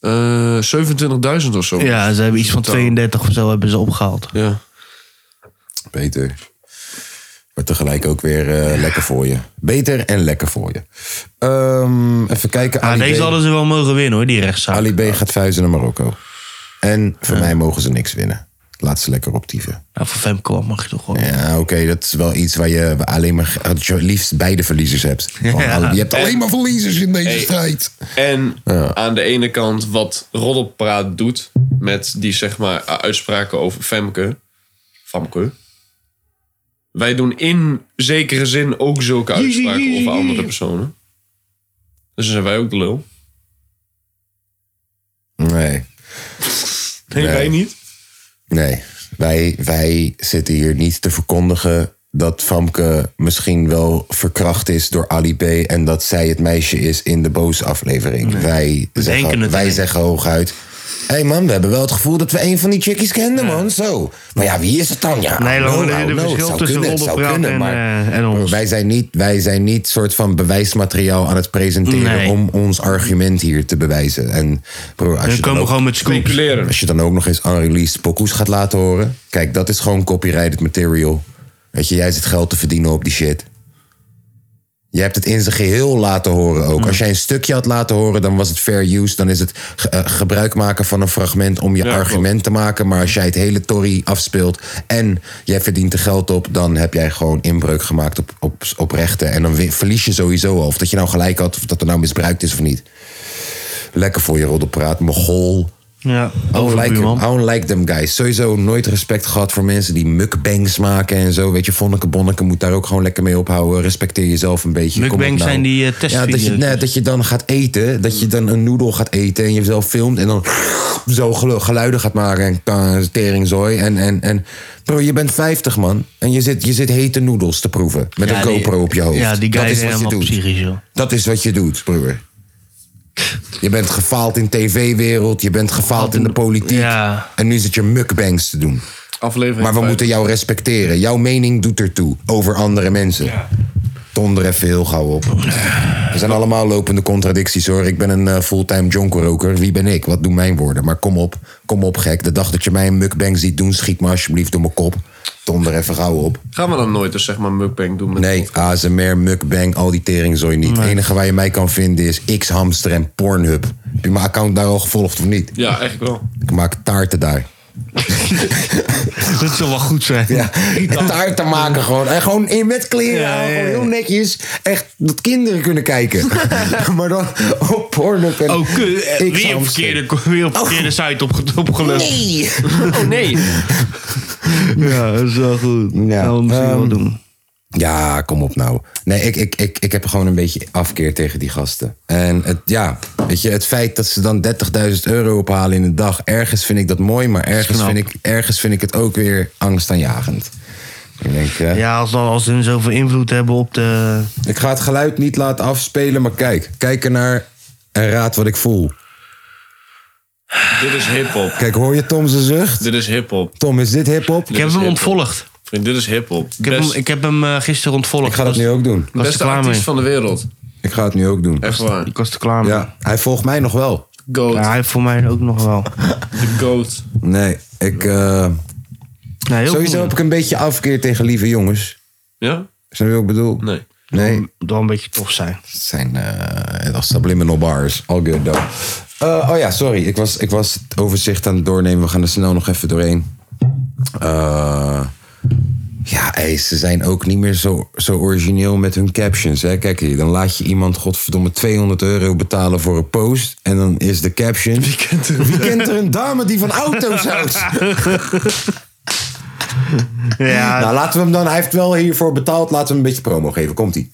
S4: eh, 27.000 of zo.
S2: Ja, ze hebben iets van 32 of zo hebben ze opgehaald.
S4: Ja.
S1: Beter. Maar tegelijk ook weer eh, lekker voor je. Beter en lekker voor je. Ehm, even kijken.
S2: Ah,
S1: Ali,
S2: deze
S1: B,
S2: hadden ze wel mogen winnen hoor, die rechtszaak.
S1: Ali B gaat vuizen naar Marokko. En voor mij mogen ze niks winnen. Laat ze lekker optieven.
S2: Nou, voor Femco mag je toch wel.
S1: Ja, oké, dat is wel iets waar je alleen maar... Dat je het liefst beide verliezers hebt. Gewoon
S2: Ja.
S1: alle- je hebt alleen maar verliezers in deze
S4: Hey.
S1: strijd.
S4: En aan de ene kant wat Roddelpraat doet met die zeg maar uitspraken over Femke. Famke. Wij doen in zekere zin ook zulke uitspraken over andere personen. Dus dan zijn wij ook de lul.
S1: Nee,
S4: Nee, wij niet.
S1: nee. Wij, wij zitten hier niet te verkondigen dat Famke misschien wel verkracht is door Ali B. En dat zij het meisje is in de boze aflevering. Wij,
S2: denken
S1: zeggen,
S2: het
S1: wij
S2: alleen.
S1: zeggen hooguit... Hé hey man, we hebben wel het gevoel dat we een van die chickies kenden, man. Zo. Maar ja, wie is het dan? Ja,
S2: Nee,
S1: no,
S2: dan
S1: no,
S2: er
S1: no, het
S2: verschil
S1: zou
S2: tussen
S1: kunnen, het zou
S2: Roddelpraat
S1: kunnen,
S2: en,
S1: maar-
S2: eh, en ons.
S1: Wij zijn niet, wij zijn niet soort van bewijsmateriaal aan het presenteren
S2: Nee.
S1: om ons argument hier te bewijzen. En bro, als, je
S2: Dan
S1: dan
S2: komen we
S1: ook,
S2: gewoon met scoops.
S4: Speculeren.
S1: als je dan ook nog eens unreleased pokoes gaat laten horen. Kijk, dat is gewoon copyrighted material. Weet je, jij zit geld te verdienen op die shit. Je hebt het in zijn geheel laten horen ook. Als jij een stukje had laten horen, dan was het fair use. Dan is het ge- eh, gebruik maken van een fragment om je
S4: Ja,
S1: argument te maken. Maar als jij het hele tory afspeelt en jij verdient er geld op... dan heb jij gewoon inbreuk gemaakt op, op, op rechten. En dan win- verlies je sowieso al. Of dat je nou gelijk had, of dat er nou misbruikt is of niet. Lekker voor je roddelpraat, mogol.
S2: Ja,
S1: I don't, like
S2: overbuurman.
S1: I don't like them guys. Sowieso nooit respect gehad voor mensen die mukbangs maken en zo. Weet je, Vonneke Bonneke moet daar ook gewoon lekker mee ophouden. Respecteer jezelf een beetje. Kom op
S2: Mukbangs
S1: nou.
S2: zijn die, eh,
S1: Ja, dat je,
S2: testvideo's.
S1: nee, dat je dan gaat eten. Dat je dan een noedel gaat eten en jezelf filmt. En dan zo gelu- geluiden gaat maken en kan- teringzooi. En, en, en bro, je bent 50 man. En je zit, je zit hete noedels te proeven. Met een
S2: die-
S1: GoPro op je hoofd.
S2: Ja, die guy
S1: dat
S2: is
S1: is wat je
S2: helemaal
S1: doet.
S2: psychisch, joh.
S1: Dat is wat je doet, broer. Je bent gefaald in tv-wereld, je bent gefaald in de politiek.
S2: Ja.
S1: En nu zit je mukbangs te doen.
S4: Aflevering
S1: Maar we
S4: vijf.
S1: moeten jou respecteren. Jouw mening doet ertoe over andere mensen. Donder even heel gauw op. Er zijn allemaal lopende contradicties hoor. Ik ben een eh, fulltime jonkerroker. Wie ben ik? Wat doen mijn woorden? Maar kom op, kom op gek. De dag dat je mij een mukbang ziet doen, schiet me alsjeblieft door mijn kop. Donder even gauw op.
S4: Gaan we dan nooit dus zeg maar mukbang doen? Met
S1: Nee, ASMR, mukbang, al die teringzooi niet. Het enige waar je mij kan vinden is X-Hamster en Pornhub. Heb je mijn account daar al gevolgd of niet?
S4: Ja, eigenlijk wel.
S1: Ik maak taarten daar.
S2: Dat zal wel goed zijn.
S1: Ja, taarten maken gewoon. En gewoon in, met kleren
S2: Ja,
S1: aan,
S2: ja,
S1: gewoon
S2: ja.
S1: heel netjes. Echt dat kinderen kunnen kijken. maar dan op Pornhub en
S2: Oh, kut. Eh, Weer op
S1: X-Hamster.
S2: verkeerde, weer op verkeerde site opge- opgelucht.
S1: Oh, Nee!
S4: Oh nee.
S2: Ja, dat is wel goed.
S1: Ja.
S2: Gaan we misschien wel
S1: Ehm,
S2: doen.
S1: Ja, kom op nou. Nee, ik, ik, ik, ik heb gewoon een beetje afkeer tegen die gasten. En het, ja, weet je, het feit dat ze dan 30.000 euro ophalen in een dag. Ergens vind ik dat mooi, maar ergens, vind ik, ergens vind ik het ook weer angstaanjagend. Ik denk, eh,
S2: Ja, als, dan, als ze zoveel invloed hebben op de...
S1: ik ga het geluid niet laten afspelen, maar kijk. Kijk ernaar en raad wat ik voel.
S4: Dit is hiphop.
S1: Kijk, hoor je Tom zijn zucht?
S4: Dit is hiphop.
S1: Tom, is dit hip-hop?
S2: Ik heb
S4: is
S2: hem
S4: heel
S2: ontvolgd.
S4: Vriend, dit is hiphop.
S2: Ik heb hem,
S4: Best-
S2: ik heb hem eh, gisteren ontvolgd.
S1: Ik ga dat nu ook doen.
S2: was
S4: Beste
S2: er klaar
S4: artiest
S2: mee.
S4: van de wereld.
S1: Ik ga het nu ook doen.
S4: Echt waar.
S2: Ik was er klaar mee.
S1: Ja, hij volgt mij nog wel.
S4: Goat.
S2: Ja, hij voor mij ook nog wel.
S4: De goat.
S1: Nee, ik. eh,
S2: Nee, heel
S1: sowieso
S2: goed.
S1: heb ik een beetje afkeer tegen lieve jongens.
S4: Ja?
S1: Snap je wat ik bedoel?
S4: Nee.
S1: Nee.
S2: Moet wel een beetje tof zijn.
S1: Het zijn eh als subliminal bars. All good though. Eh, oh ja, sorry. Ik was, ik was het overzicht aan het doornemen. We gaan er snel nog even doorheen. Eh, ja, ey, ze zijn ook niet meer zo, zo origineel met hun captions. Hè? Kijk hier, dan laat je iemand godverdomme 200 euro betalen voor een post. En dan is de caption... Wie kent er, een dame die van auto's houdt?
S2: Ja,
S1: nou, laten we hem dan... Hij heeft wel hiervoor betaald. Laten we hem een beetje promo geven. Komt-ie.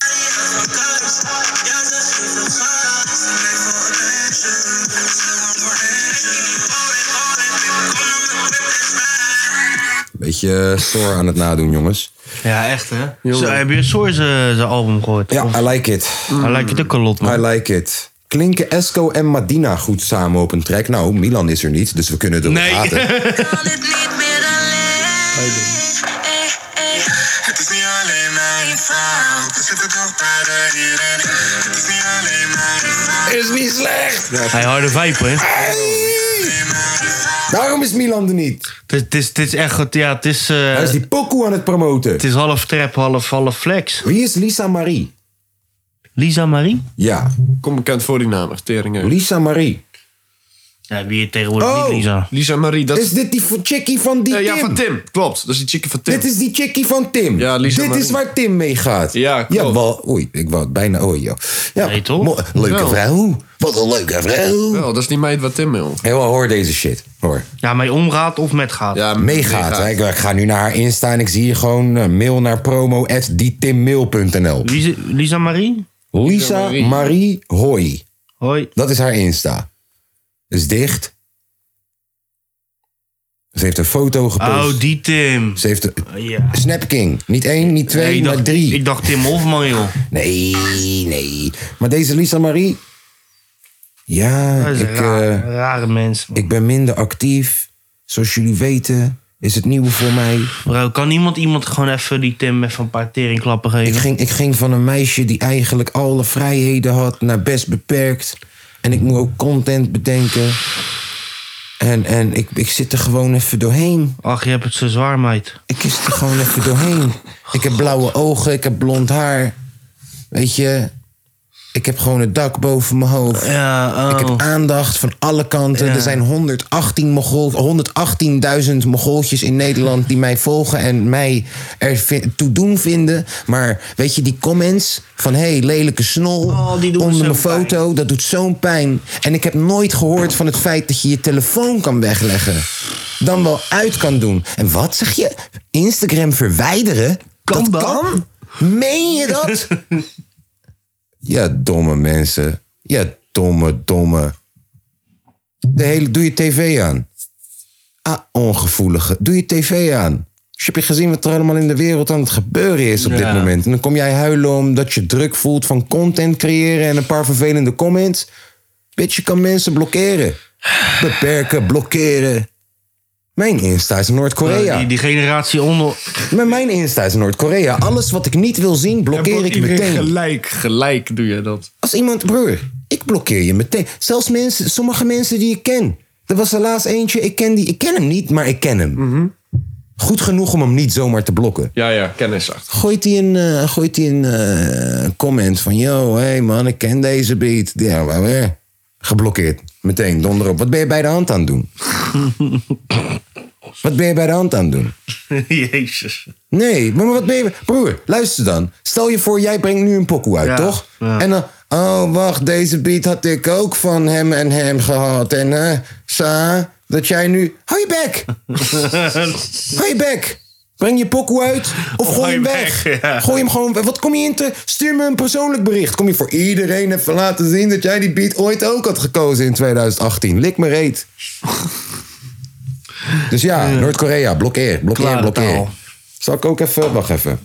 S1: Beetje eh, Thor aan het nadoen, jongens.
S2: ja echt hè. Zo, heb je Soor zijn zijn album gehoord?
S1: Ja,
S2: Of-
S1: I like it.
S2: Hij lijkt het ook een lot,
S1: I
S2: man.
S1: like it. Klinken Esco en Madina goed samen op een track? Nou, Milan is er niet, dus we kunnen erop
S2: Nee.
S1: praten.
S5: kan dit niet meer alleen. Eh, eh. Het is niet alleen mijn fout. We zitten toch beide hier en ik. Het is niet alleen mijn fout.
S1: Is niet slecht!
S2: Hij harde vijp, hè.
S1: Daarom is Milan er niet.
S2: Het is- Het is, het is echt goed. Ja, het is, eh,
S1: Hij is
S2: het
S1: die pokoe aan het promoten.
S2: is half trap, half, half flex.
S1: Wie is Lisa Marie?
S2: Lisa Marie?
S1: Ja,
S4: Kom bekend voor die naam. Echt tering. hè.
S1: Lisa Marie.
S2: Ja, wie het tegenwoordig
S1: Oh.
S2: niet, Lisa.
S4: Lisa Marie, dat
S1: Is dit die v- chickie van die
S4: Eh,
S1: Tim?
S4: ja, van Tim. Klopt, dat is die chickie van Tim.
S1: Dit is die chickie van Tim.
S4: Ja, Lisa
S1: Dit is
S4: Marie.
S1: waar Tim mee gaat.
S4: Ja, klopt.
S1: ja wel, oei, ik wou het bijna. Oei, joh. Ja,
S2: Nee, toch?
S1: mo- Leuke
S4: Wel.
S1: vrouw. Wat een leuke vrouw.
S4: Wel, dat is die meid waar Tim mee om.
S1: Helemaal hoor deze shit. Hoor.
S2: Ja, mee omgaat of met gaat.
S4: Ja,
S1: Meegaat. hè. Ik, ik ga nu naar haar Insta en ik zie hier gewoon eh, mail naar promo.diettimmail.nl.
S2: Lisa, Lisa Marie?
S1: Lisa
S4: Marie.
S1: Marie Hoy.
S2: Hoi.
S1: Dat is haar Insta. Is dicht. Ze heeft een foto gepost.
S2: Oh, die Tim. Oh,
S1: Ze heeft een
S2: Ja.
S1: Snapking. Niet één, niet twee,
S2: ik,
S1: maar
S2: dacht,
S1: drie.
S2: ik dacht Tim Hofman, joh.
S1: Nee, nee. Maar deze Lisa Marie. Ja,
S2: Dat is
S1: ik,
S2: een raar-
S1: eh,
S2: rare mens.
S1: ik ben minder actief. Zoals jullie weten, is het nieuw voor mij.
S2: Bro, kan iemand iemand gewoon even die Tim even een paar teringklappen
S1: Ik
S2: geven?
S1: ging, ik ging van een meisje die eigenlijk alle vrijheden had naar best beperkt. En ik moet ook content bedenken. En, en ik, ik zit er gewoon even doorheen.
S2: Ach, je hebt het zo zwaar, meid.
S1: Ik zit er gewoon even doorheen. Ik heb blauwe ogen, ik heb blond haar. Weet je, ik heb gewoon het dak boven mijn hoofd.
S2: Ja,
S1: Ik
S2: oh.
S1: heb aandacht van alle kanten.
S2: Ja.
S1: Er zijn 118 Mogol- 118.000 Mogoltjes in Nederland die mij volgen en mij er vi- toe doen vinden. Maar weet je, die comments van hé, hey, lelijke snol
S2: Oh, die doen
S1: onder
S2: zo'n
S1: mijn foto, dat doet zo'n pijn. En ik heb nooit gehoord van het feit dat je je telefoon kan wegleggen. Dan wel uit kan doen. En wat zeg je? Instagram verwijderen?
S2: Kan
S1: dat
S2: dat?
S1: kan? Meen je dat? Ja, domme mensen. Ja, domme, domme. De hele, doe je tv aan. Ah, ongevoelige. Doe je tv aan. Dus heb je gezien wat er allemaal in de wereld aan het gebeuren is op dit moment? En dan kom jij huilen omdat je druk voelt van content creëren en een paar vervelende comments. Bitch, je kan mensen blokkeren. Beperken, blokkeren. Mijn Insta is
S4: Oh,
S1: Noord-Korea.
S2: Die, die generatie onder...
S1: Maar mijn Insta is Noord-Korea. Alles wat ik niet wil zien, blokkeer ik meteen.
S4: Gelijk, gelijk doe je dat.
S1: Als iemand, broer, ik blokkeer je meteen. Zelfs mensen, sommige mensen die ik ken. Er was er laatst eentje, ik ken, die, ik ken hem niet, maar ik ken hem. Goed genoeg om hem niet zomaar te blokken.
S4: Ja, ja, kennisachtig.
S1: Gooit hij een, eh, gooit hij een eh, comment van... Yo, hé hey man, ik ken deze beat. Ja, wel weer. Geblokkeerd. Meteen, donder op. Wat ben je bij de hand aan het doen? Wat ben je bij de hand aan het doen?
S2: Jezus.
S1: Nee, maar wat ben je... Broer, luister dan. Stel je voor, jij brengt nu een pokoe uit,
S2: Ja,
S1: toch?
S2: ja.
S1: En dan... Oh, wacht, deze beat had ik ook van hem en hem gehad. En, eh, sa, dat jij nu... Hou je bek! Hou je bek! Breng je pokoe uit of gooi hem
S2: je
S1: weg.
S2: bek, ja.
S1: Gooi hem gewoon weg. Wat kom je in te... Stuur me een persoonlijk bericht. Kom je voor iedereen even laten zien dat jij die beat ooit ook had gekozen in 2018. Lik me reet. Dus ja, Noord-Korea, blokkeer, blokkeer,
S2: Klare
S1: blokkeer.
S2: taal.
S1: Zal ik ook even, wacht even.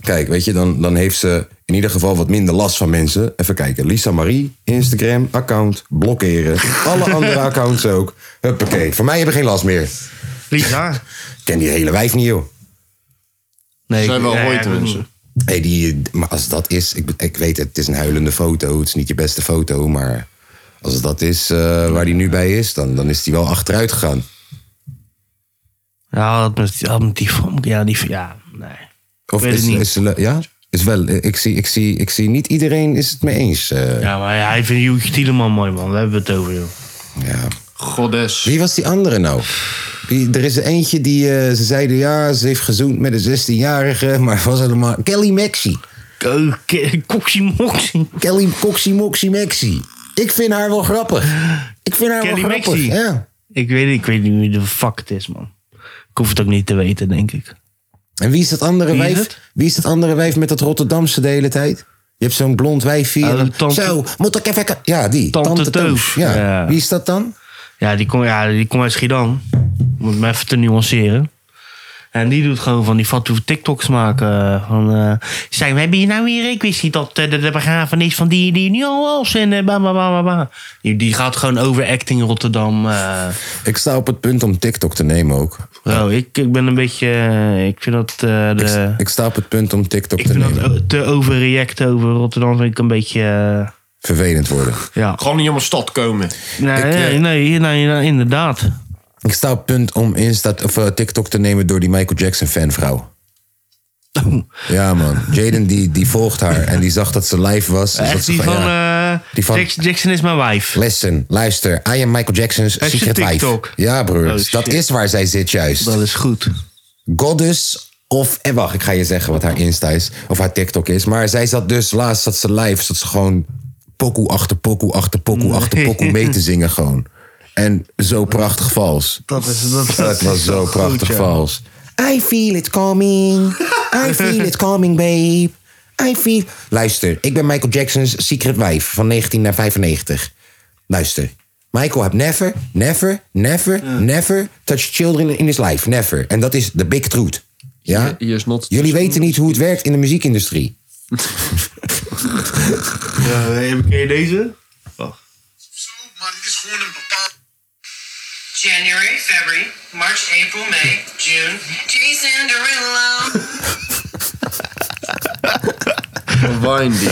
S1: Kijk, weet je, dan, dan heeft ze in ieder geval wat minder last van mensen. Even kijken, Lisa Marie, Instagram, account, blokkeren. Alle andere accounts ook. Huppakee, van mij hebben geen last meer.
S2: Lisa?
S1: Ik ken die hele wijf niet, joh.
S2: Nee,
S4: zijn
S2: ik-
S4: wel
S2: nee,
S4: hooite
S2: ik-
S4: mensen.
S1: Hey, die, maar als dat is, ik, ik weet het, het is een huilende foto. Het is niet je beste foto, maar als dat is eh, waar die nu bij is, dan, dan is die wel achteruit gegaan.
S2: Ja, dat met, dat met die van... Ja, die van- Ja, nee.
S1: Of
S2: Ik weet
S1: is,
S2: het niet.
S1: is, ja? Is wel, ik zie, ik, zie, ik zie niet iedereen is het mee eens. eh,
S2: Ja, maar ja, hij vindt Joetje Tieleman mooi, man. Daar hebben we het over, joh.
S1: ja.
S4: Godes.
S1: Wie was die andere nou? Die, er is er eentje die eh, ze zeiden ja, ze heeft gezoend met een 16-jarige, maar was helemaal. Kelly Maxi.
S2: Oh, ke- Koksie Moksie.
S1: Kelly Coxie Moxie Maxi. Ik vind haar wel grappig. Ik vind haar
S2: Kelly
S1: wel grappig.
S2: Maxi?
S1: Ja.
S2: Ik weet, niet- ik weet niet wie de fuck het is, man. Ik hoef het ook niet te weten, denk ik.
S1: En wie is dat andere
S2: Wie is
S1: wijf?
S2: het?
S1: Wie is dat andere wijf met dat Rotterdamse de hele tijd? Je hebt zo'n blond wijfje. en
S2: Oh,
S1: dan-
S2: tante-
S1: Zo, moet ik even... Ja, die.
S2: Tante Teuf.
S1: Ja.
S2: Ja.
S1: Wie is dat dan?
S2: Ja, die komt ja, die komt uit Schiedam. Om het maar even te nuanceren. En die doet gewoon van die fatu TikToks maken. eh, Van, eh zijn, we hebben je nou weer? Ik wist niet dat eh, de, de begrafenis van die, die nu al was. En eh, ba, ba, ba, ba, ba. Die, die gaat gewoon overacting in Rotterdam. eh.
S1: Ik sta op het punt om TikTok te nemen ook.
S2: Bro, ik, ik ben een beetje... eh, ik vind dat... eh, de,
S1: Ik sta op het punt om TikTok
S2: ik
S1: te
S2: vind
S1: nemen.
S2: dat o- te overreacten over Rotterdam vind ik een beetje... eh,
S1: Vervelend worden.
S2: ja.
S4: Gewoon niet om een stad komen.
S2: Nee,
S1: Ik, eh,
S2: nee, nee, nee, nee, inderdaad.
S1: Ik sta op het punt om Insta, of, eh, TikTok te nemen door die Michael Jackson fanvrouw.
S2: Oh.
S1: Ja, man. Jaden die, die volgt haar en die zag dat ze live was. Dus dat
S2: Echt
S1: ze
S2: die van,
S1: ja.
S2: eh,
S1: Die van-
S2: Jackson, Jackson is mijn wife.
S1: Listen, luister. I am Michael Jackson's
S2: Heeft ze
S1: secret
S2: TikTok?
S1: life. Ja, broer.
S2: Oh,
S1: dat
S2: shit.
S1: is waar zij zit juist.
S2: Dat is goed.
S1: Goddess of... En wacht, ik ga je zeggen wat haar Insta is. Of haar TikTok is. Maar zij zat dus... Laatst zat ze live. Zat ze gewoon pokoe achter pokoe achter pokoe achter pokoe mee te zingen gewoon. En zo prachtig vals.
S2: Dat, is, dat,
S1: Dat was zo prachtig vals. I feel it coming. I feel it coming, babe. I feel... Luister, ik ben Michael Jackson's secret wife van 19 naar 95. Luister. Michael had never, never, never, never touched children in his life. Never. En dat is the big truth. Ja?
S4: He is not-
S1: Jullie weten niet hoe het werkt in de muziekindustrie.
S2: Eh, ken je deze?
S6: zo, maar dit is gewoon een bepaald. January, February, March, April, May, June. Jason Derulo.
S4: Windy.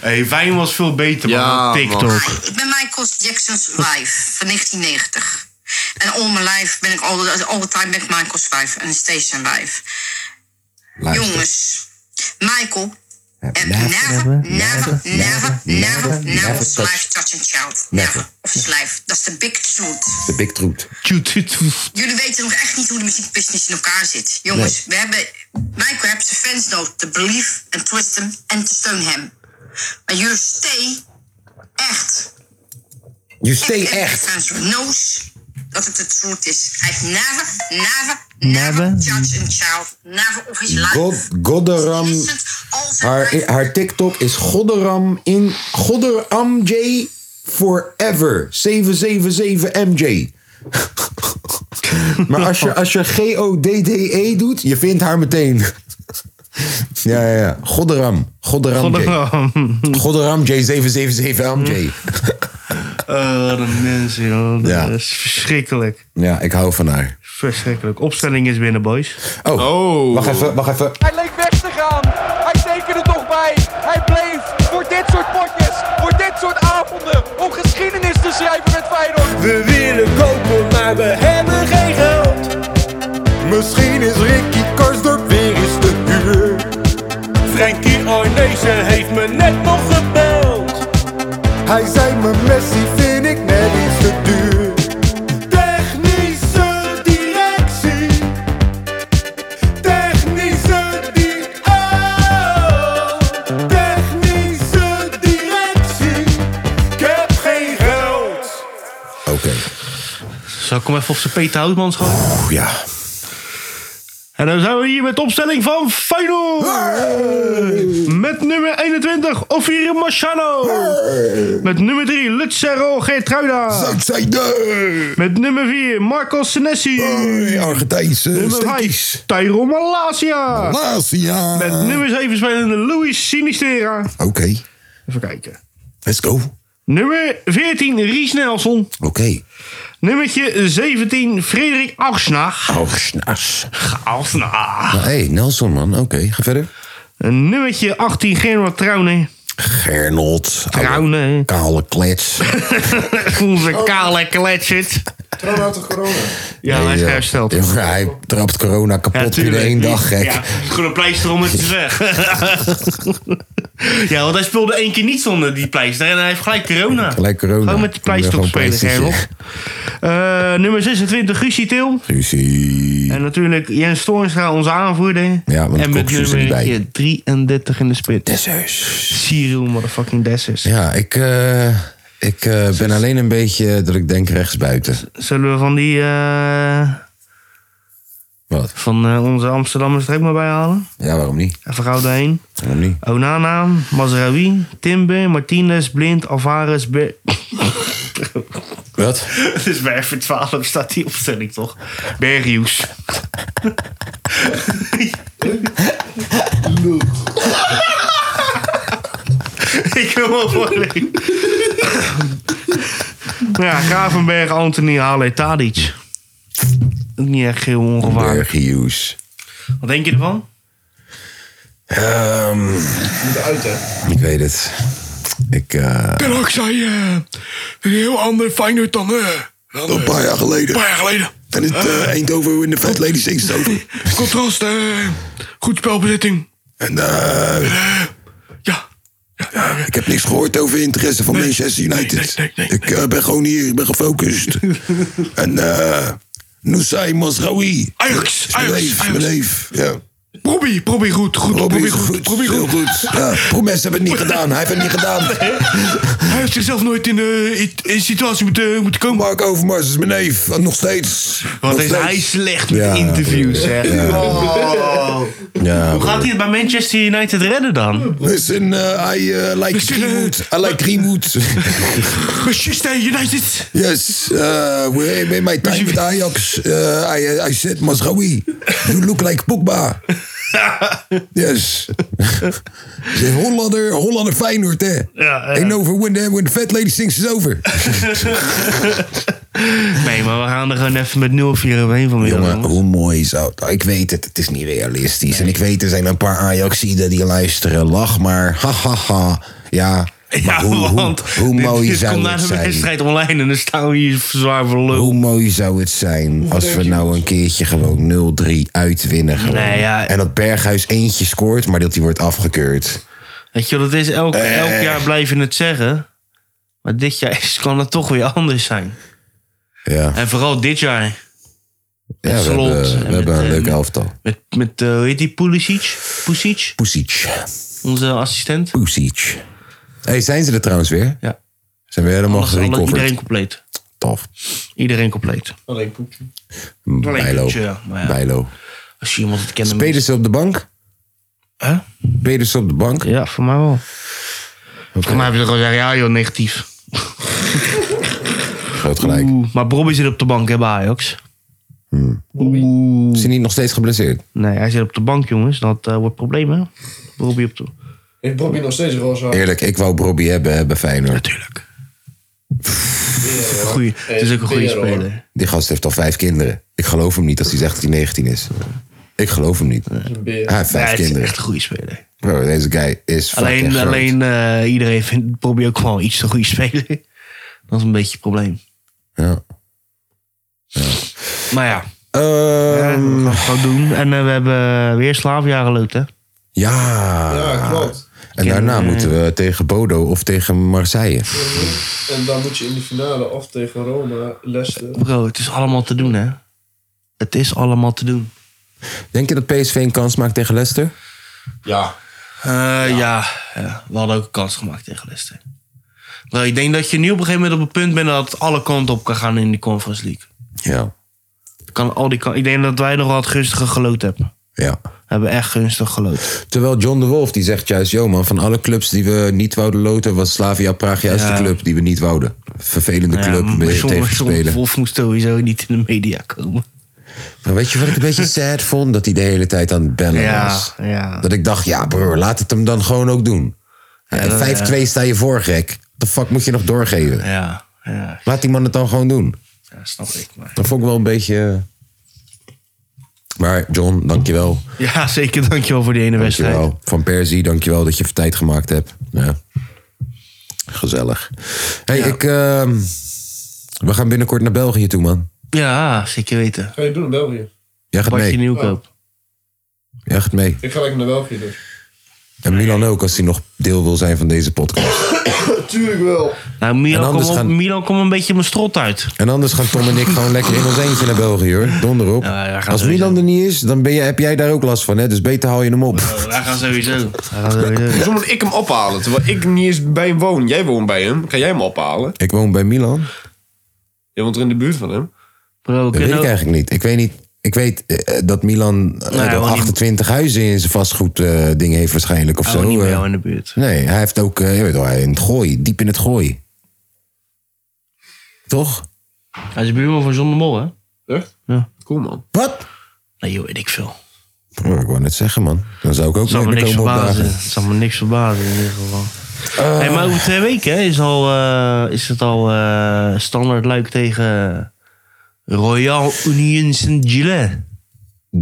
S2: Hey, Wijn was veel beter
S4: Ja,
S2: man, dan TikTok.
S6: Hi, ik ben Michael Jackson's wife van 1990. En all my life ben ik all the, all the time ben ik Michael's wife en steeds zijn wife.
S1: Luister.
S6: Jongens, Michael. eh,
S1: never,
S6: Never, never, never, never,
S1: never
S6: never
S1: touch-
S6: slash touch a child.
S1: Never.
S6: Never. Of slash. Dat is de big truth.
S1: The big truth.
S2: Tjoe, tjoe, tjoe.
S6: Jullie weten nog echt niet hoe de muziekbusiness in elkaar zit. Jongens, we hebben... Michael heeft zijn fans nodig te believe en twist hem en te steun hem. Maar jullie stay echt
S1: You stay
S6: echt
S1: echt.
S6: aan zijn neus dat het de truth is. Hij heeft never, never,
S2: Never?
S6: never, judge a child. Never of his life.
S1: God, Godderam...
S6: Listen, all the
S1: Haar,
S6: life.
S1: haar TikTok is Godderam in Godderam J forever. 777 MJ. maar als je, als je G-O-D-D-E E doet, je vindt haar meteen. ja, ja, ja. Godderam. Godderam J. Godderam J 777 MJ.
S2: Eh, wat een mensen, joh. Dat
S1: Ja.
S2: is verschrikkelijk.
S1: Ja, ik hou van haar.
S2: Verschrikkelijk. Opstelling is binnen, boys.
S1: Oh,
S4: Oh.
S1: wacht even, wacht even.
S5: Hij leek weg te gaan. Hij tekende toch bij. Hij bleef voor dit soort potjes, voor dit soort avonden, om geschiedenis te schrijven met Feyenoord.
S7: We willen kopen, maar we hebben geen geld. Misschien is Ricky Karsdorp weer eens te huur. Frankie Arnezen heeft me net nog gebeld. Hij zei me Messi vind ik net iets te duur. Technische directie. Technische di- oh. Technische directie. Ik heb geen geld.
S1: Oké.
S2: Zal ik hem even op zijn Peter Houtman gooien?
S1: Oeh, ja.
S2: En dan zijn we hier met de opstelling van Feyenoord. Met nummer 21, Ofir Machano. Met nummer 3, Lutzero Geertruida.
S1: Zuidzijde!
S2: Met nummer 4, Marco Senesi.
S1: Oh, Argentijnse
S2: Nummer 5, Tyron
S1: Oh.
S2: Malasia.
S1: Lazia.
S2: Met nummer 7 spelende Luis Sinistera.
S1: Oké,
S2: Even kijken.
S1: let's go. Oké.
S2: Nummer 14, Ries Nelson. Nummertje 17, Frederik Augsnach.
S1: Oh, snas.
S2: Augsnach.
S1: Hé, Ah, hey, Nelson, man. Oké, ga verder.
S2: Nummertje 18, Gerard Trouwne.
S1: Gernot. oude
S2: Trouwne.
S1: Kale klets.
S2: Onze kale kletschert.
S8: Corona had toch corona?
S2: Ja,
S1: Nee,
S2: hij is
S1: joh.
S2: hersteld.
S1: eh, Jongen, hij trapt corona kapot in
S2: tuurlijk.
S1: één dag, gek.
S2: Ja, gewoon een pleister om het te zeggen. ja, want hij speelde één keer niet zonder die pleister. En hij heeft gelijk corona.
S1: Gelijk corona.
S2: Gewoon met die pleister
S1: Gewoon
S2: op spelen,
S1: pleistertje.
S2: Gerlof. Eh, nummer 26, Guusje Til.
S1: Suzie.
S2: En natuurlijk Jens Toornstra, onze aanvoerder.
S1: Ja, want
S2: en met
S1: Koksu is er niet bij.
S2: nummer 33 in de spit.
S1: Dessus.
S2: Cyril motherfucking Dessers.
S1: Ja, ik, eh, ik eh, ben alleen een beetje dat ik denk rechtsbuiten.
S2: Zullen we van die... eh,
S1: Wat?
S2: van eh, onze Amsterdammers er ook maar bij halen?
S1: Ja, waarom niet?
S2: Even gauw daarheen.
S1: Waarom niet?
S2: Onana, Mazraoui, Timber, Martinez, Blind, Alvarez, Ber...
S1: Wat?
S2: Het is bij F 12 staat die opstelling toch? Berrius. Ik wil wel voorlezen. ja, Gravenberg, Anthony, Hale, Tadic. Ook niet echt heel ongevaarlijk.
S1: Berghuis.
S2: Wat denk je ervan?
S1: Ehm,
S8: Moet uit, hè?
S1: ik weet het. Ik, eh,
S7: En ook zei eh, een heel ander Feyenoord dan eh, dan, eh,
S1: een paar jaar
S7: een
S4: eh,
S1: geleden.
S7: paar jaar geleden.
S1: Dan is het eh, Eindhoven in de Fat Ladies Eindhoven.
S4: Contrast, eh, goed spelbezitting.
S1: En eh,
S4: Ja,
S1: ik heb niks gehoord over interesse van Manchester United.
S4: nee, nee, nee,
S1: ik eh, ben gewoon hier, ik ben gefocust. en eh Nusay Masraoui.
S4: Ajax,
S1: Is
S4: Ajax,
S1: Mijn leef,
S4: Ajax.
S1: mijn leef. Ja.
S4: probeer, probeer goed, goed,
S1: Robbie
S4: probeer
S1: is
S4: goed,
S1: goed,
S4: probeer
S1: heel
S4: goed.
S1: goed. Ja, Promes hebben het niet gedaan, hij heeft het niet gedaan.
S4: Hij heeft zichzelf nooit in eh, in- in situatie moeten, moeten komen.
S1: Mark Overmars is mijn neef, nog steeds.
S2: Wat
S1: Nog
S2: is
S1: steeds.
S2: hij slecht met
S1: Ja,
S2: interviews, hè? Oh.
S1: Ja,
S2: Hoe gaat hij het bij Manchester United redden dan?
S1: Listen, uh, I uh, like
S4: Listen, eh,
S1: Greenwood. I like Greenwood.
S4: Manchester United.
S1: yes, uh, we- in my time with Ajax, uh, I, I said Masraoui, you look like Pogba. Yes. Say, Hollander, Hollander Feyenoord, hè.
S2: ja.
S1: Ain't over when the, when the fat lady sings is over.
S2: Nee, maar we gaan er gewoon even met 0-4 overheen vanmiddag.
S1: Jongen,
S2: jongens.
S1: hoe mooi zou het... Ik weet het, het is niet realistisch. En ik weet, er zijn een paar Ajaxiden die luisteren. Lach maar, ha ha ha. Ja, maar
S2: Ja,
S1: hoe, hoe,
S2: want
S1: hoe
S2: dit-
S1: mooi
S2: dit komt
S1: zou
S2: na
S1: het
S2: de
S1: zijn...
S2: wedstrijd online en dan staan we hier zwaar voor lul.
S1: Hoe mooi zou het zijn als we nou een keertje gewoon 0-3 uitwinnen. Gewoon.
S2: Nee, ja.
S1: En dat Berghuis eentje scoort, maar dat die wordt afgekeurd.
S2: Weet je, dat is elk,
S1: Eh.
S2: elk jaar blijven het zeggen. Maar dit jaar is, kan het toch weer anders zijn.
S1: Ja,
S2: En vooral dit jaar.
S1: ja we,
S2: Slot en
S1: hebben, we
S2: met,
S1: hebben een
S2: eh,
S1: leuke elftal.
S2: Met, met eh, hoe heet die, Pulisic? Pusic,
S1: Pusic.
S2: onze assistent.
S1: Pusic. hey, zijn ze er trouwens weer?
S2: Ja.
S1: Zijn we helemaal
S2: Alles- alle- iedereen
S1: gerecoverd?
S2: compleet.
S1: Tof.
S2: Iedereen compleet.
S1: Bijlo.
S2: eentje, ja, maar ja.
S1: Bijlo.
S2: Als je iemand het kent... dan-
S1: Pedersen op de bank?
S2: Hè?
S1: Pedersen op de bank?
S2: Ja, voor mij wel. Voor mij heb je toch gewoon zeggen, ja joh, negatief.
S1: Groot gelijk. Hmm.
S2: Oeh, maar Bobby zit op de bank hè, bij Ajax.
S1: Is hij niet nog steeds geblesseerd?
S2: Nee, hij zit op de bank, jongens. Dat eh, wordt probleem, hè? Bobby op de...
S3: Ik probeer nog steeds roze haar.
S1: Eerlijk, ik wou Bobby hebben hè, bij Feyenoord.
S2: Natuurlijk. Goeie. Het is ook een goede
S3: Tero, hoor.
S2: speler.
S1: Die gast heeft al vijf kinderen. Ik geloof hem niet als hij zegt dat hij 19 is. Ik geloof hem niet. Hij heeft
S2: Ja,
S1: vijf
S2: hij is
S1: kinderen.
S2: echt een goede speler.
S1: Bro, deze guy is fucking
S2: Alleen,
S1: groot.
S2: alleen eh, iedereen vindt Bobby ook gewoon iets te goede speler. Dat is een beetje het probleem.
S1: Ja.
S2: Maar ja,
S1: Ehm,
S2: dat gaan we doen. En eh, we hebben weer Slavia geloot, hè?
S1: ja.
S3: klopt.
S1: En daarna moeten we tegen Bodo of tegen Marseille.
S3: En dan moet je in de finale of tegen Roma, Leicester.
S2: Bro, het is allemaal te doen, hè? Het is allemaal te doen.
S1: Denk je dat PSV een kans maakt tegen Leicester?
S3: Ja.
S2: Eh, ja. ja. we hadden ook een kans gemaakt tegen Leicester. Maar ik denk dat je nu op een gegeven moment op het punt bent dat het alle kanten op kan gaan in de Conference League.
S1: Ja.
S2: Kan al die kan ik denk dat wij nog wat gunstiger geloot hebben.
S1: Ja.
S2: We hebben echt gunstig geloot.
S1: Terwijl John de Wolf die zegt juist, joh man, van alle clubs die we niet wouden loten, was Slavia Praag juist
S2: Ja.
S1: de club die we niet wouden. Vervelende club om
S2: maar
S1: tegen
S2: zonder,
S1: te
S2: zonder
S1: spelen.
S2: Wolf moest sowieso niet in de media komen.
S1: Maar weet je wat ik een beetje sad vond? Dat hij de hele tijd aan het bellen
S2: Ja,
S1: was.
S2: ja.
S1: Dat ik dacht, ja broer, laat het hem dan gewoon ook doen.
S2: dat-
S1: en 5-2 sta je voor, gek. What the fuck moet je nog doorgeven?
S2: Ja, ja,
S1: Laat die man het dan gewoon doen.
S2: ja, snap ik. Maar.
S1: Dat vond ik wel een beetje... eh. Maar John, dankjewel.
S2: Ja, zeker. Dankjewel voor die ene wedstrijd.
S1: Dankjewel. Van Persie, dankjewel dat je even tijd gemaakt hebt. Ja. Gezellig. hey, ik... ehm, we gaan binnenkort naar België toe, man.
S2: Ja, zeker weten.
S3: Ga je doen in België?
S1: Jij gaat
S2: Bartje
S1: mee.
S2: Nieuwkoop.
S1: Jij gaat mee.
S3: Ik ga lekker naar België dus.
S1: En Milan ook, als hij nog deel wil zijn van deze podcast.
S3: Natuurlijk wel.
S2: Nou,
S1: En
S2: Milan
S1: anders
S2: komt op-
S1: gaan-
S2: Milan komt een beetje mijn strot uit.
S1: En anders gaan Tom en ik gewoon lekker in ons eentje naar België, hoor. Donder op.
S2: Ja, wij gaan
S1: als
S2: sowieso.
S1: Milan er niet is, dan ben je, heb jij daar ook last van, hè? Dus beter haal je hem op.
S2: Wij gaan sowieso. Wij gaan sowieso.
S4: Zo moet ik hem ophalen, terwijl ik niet eens bij hem woon. Jij woont bij hem, ga jij hem ophalen?
S1: Ik woon bij Milan.
S4: Jij woont er in de buurt van hem.
S2: Bro, we
S1: Dat weet
S2: kunnen
S1: ik
S2: ook-
S1: eigenlijk niet. Ik weet niet. Ik weet eh, dat Milan eh,
S2: hij
S1: de
S2: woont Nou niet-
S1: 28 huizen in zijn vastgoed eh, ding heeft waarschijnlijk of
S2: Hij
S1: zo.
S2: woont niet bij
S1: eh.
S2: jou in de buurt.
S1: Nee, hij heeft ook, eh, je weet wel, hij in het gooi, diep in het gooi. Toch?
S2: Hij is buurman van John de Mol, hè?
S4: Echt?
S2: Ja.
S4: Cool man.
S1: Wat?
S2: Nee, joh, weet ik veel.
S1: Oh, ik wou net zeggen, man. Dan zou ik ook
S2: Het zal me
S1: nooit
S2: niks
S1: meer komen
S2: verbazen.
S1: opdagen.
S2: Het zal me niks verbazen in ieder geval.
S1: Eh.
S2: Hey, maar over twee weken hè, is, al, eh, is het al eh, standaard luik tegen Royal Union Saint-Gilles.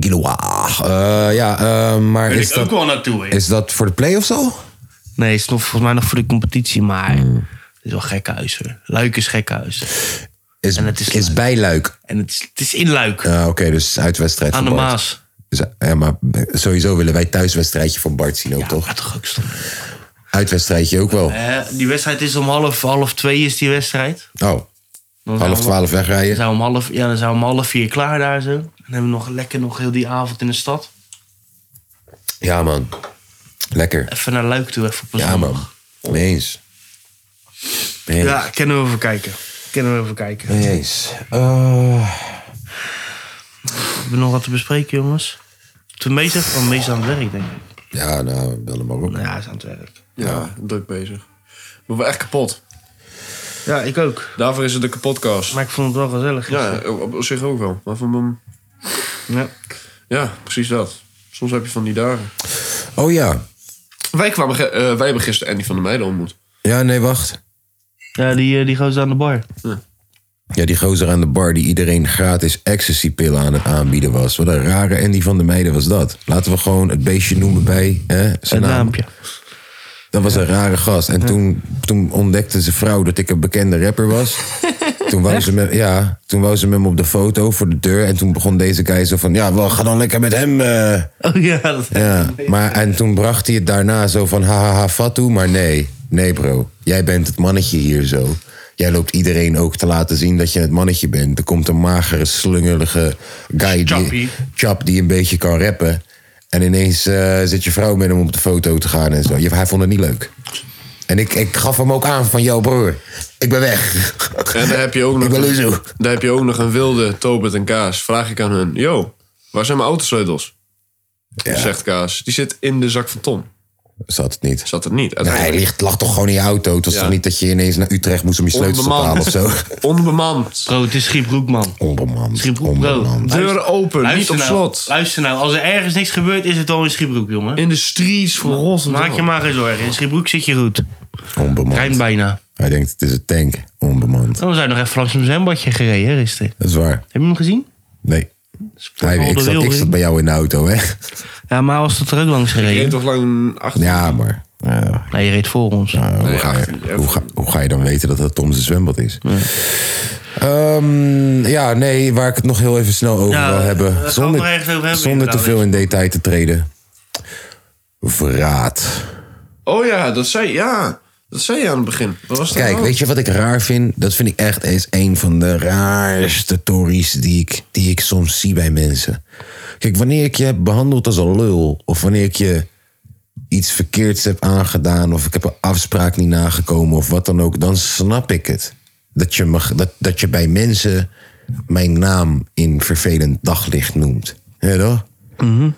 S1: Giloa. Eh, ja, eh, maar is dat,
S2: wel naartoe.
S1: is dat voor de play-offs al?
S2: Nee,
S1: Hmm.
S2: het is nog, volgens mij nog voor de competitie, maar het is wel gekhuis hoor. Luik is gekhuis.
S1: Is,
S2: En het is
S1: is, bij Luik.
S2: En het is, het is in Luik,
S1: Ah, Oké, dus uitwedstrijd
S2: aan de
S1: van Bart.
S2: Maas.
S1: Dus, ja, maar sowieso willen wij thuiswedstrijdje van Bart zien ook,
S2: Ja,
S1: toch?
S2: gaat toch ook stom.
S1: Uitwedstrijdje ook wel.
S2: Eh, die wedstrijd is om half, half twee is die wedstrijd.
S1: Oh,
S2: Dan zijn
S1: half
S2: we-
S1: twaalf
S2: Dan
S1: wegrijden.
S2: zijn we om half, ja, dan zijn we om half vier klaar daar zo. Dan hebben we nog lekker nog heel die avond in de stad.
S1: Ja, man. Lekker.
S2: Even naar Luik toe, even op een
S1: Ja,
S2: zondag.
S1: man. Mee eens. Mee eens.
S2: Ja, kunnen we even kijken. Kunnen we even kijken.
S1: Mee eens. Eh,
S2: Hebben we nog wat te bespreken, jongens? Toen meester van meester oh, aan het werk, denk ik.
S1: ja, nou, bel hem maar op.
S2: Nou Ja, hij is aan het werk.
S4: Ja, druk bezig. We waren echt kapot.
S2: Ja, ik ook.
S4: Daarvoor is het de kapotcast.
S2: Maar ik vond het wel gezellig.
S4: Ja, op, op zich ook wel. Maar van, mijn-
S2: Ja.
S4: ja, precies dat. Soms heb je van die dagen.
S1: Oh ja.
S4: Wij, kwamen ge- eh, wij hebben gisteren Andy van der Meijden ontmoet.
S1: Ja, nee, wacht.
S2: Ja, die, eh, die gozer aan de bar.
S1: Ja, die gozer aan de bar die iedereen gratis ecstasy-pillen aan het aanbieden was. Wat een rare Andy van de Meijden was dat. Laten we gewoon het beestje noemen bij hè, zijn
S2: Het
S1: naam.
S2: raampje.
S1: Dat was een rare gast. En toen, toen ontdekte zijn vrouw dat ik een bekende rapper was. Toen wou, ze me, ja, toen wou ze me op de foto voor de deur. En toen begon deze guy zo van... Ja, wel, ga dan lekker met hem. eh.
S2: Oh ja, dat...
S1: Ja, maar, en toen bracht hij het daarna zo van... Hahaha, Fatou. Maar nee, nee bro. Jij bent het mannetje hier zo. Jij loopt iedereen ook te laten zien dat je het mannetje bent. Er komt een magere, slungelige guy...
S2: Chappie.
S1: Die, chap die een beetje kan rappen. En ineens eh, zit je vrouw met hem op de foto te gaan en zo. Ja, Hij vond het niet leuk. En ik, ik gaf hem ook aan van, yo broer, ik ben weg.
S4: En eh, daar heb je ook
S1: Ik
S4: nog,
S1: ben Luzo.
S4: daar heb je ook nog een wilde Tobit en Kaas. Vraag ik aan hun. Yo, waar zijn mijn autosleutels? Zegt Kaas. Die zit in de zak van Tom.
S1: Zat het niet.
S4: Zat er niet.
S1: Nee, hij
S4: Uiteindelijk.
S1: ligt, lag toch gewoon in je auto. Het was
S4: Ja.
S1: toch niet dat je ineens naar Utrecht moest om je sleutels te halen
S4: Onbemand.
S1: of zo.
S4: Onbemand.
S2: Bro, Oh, het is Schiebroek, man.
S1: Onbemand.
S2: Schiebroek, bro.
S1: onbemand.
S2: Luister-
S4: Deuren open, niet
S2: luister
S4: op
S2: nou,
S4: slot.
S2: Luister nou, als er ergens niks gebeurt, is het al in Schiebroek, jongen.
S4: In de streets van Rotterdam.
S2: Maak je maar geen zorgen. In Schiebroek zit je goed. Rijmt
S1: Onbemand.
S2: bijna.
S1: Hij denkt, het is een tank. Onbemand.
S2: Dan zijn we nog even langs een zwembadje gereden, hè, gisteren.
S1: Dat is waar.
S2: Heb je hem gezien?
S1: Nee. Hij,
S2: al
S1: ik,
S2: de
S1: zat, ik
S2: wereld
S1: zat
S2: in.
S1: bij jou in de auto, hè?
S2: Ja, maar was dat er ook langs
S4: Je reed
S2: gereden?
S4: toch lang achter?
S1: Ja, maar... ja,
S2: Nee, je reed voor ons.
S1: nou, hoe,
S4: Nee,
S1: ga
S4: achter-
S1: je, hoe, ga, hoe ga je dan weten dat dat Tom zijn zwembad is? Ehm, ja, nee, waar ik het nog heel even snel over wil
S2: Ja, daar gaan we
S1: hebben.
S2: het nog
S1: Zonder,
S2: ergens over hebben,
S1: zonder te
S2: inderdaad.
S1: veel in detail te treden. Verraad.
S4: Oh ja, dat zei, ja, dat zei je aan het begin. Wat was dat
S1: Kijk,
S4: nou?
S1: weet je wat ik raar vind? Dat vind ik echt eens een van de raarste tories die ik, die ik soms zie bij mensen. Kijk, wanneer ik je heb behandeld als een lul, of wanneer ik je iets verkeerds heb aangedaan, of ik heb een afspraak niet nagekomen, of wat dan ook, dan snap ik het. Dat je, mag, dat, dat je bij mensen mijn naam in vervelend daglicht noemt. Hè toch?
S4: Mhm.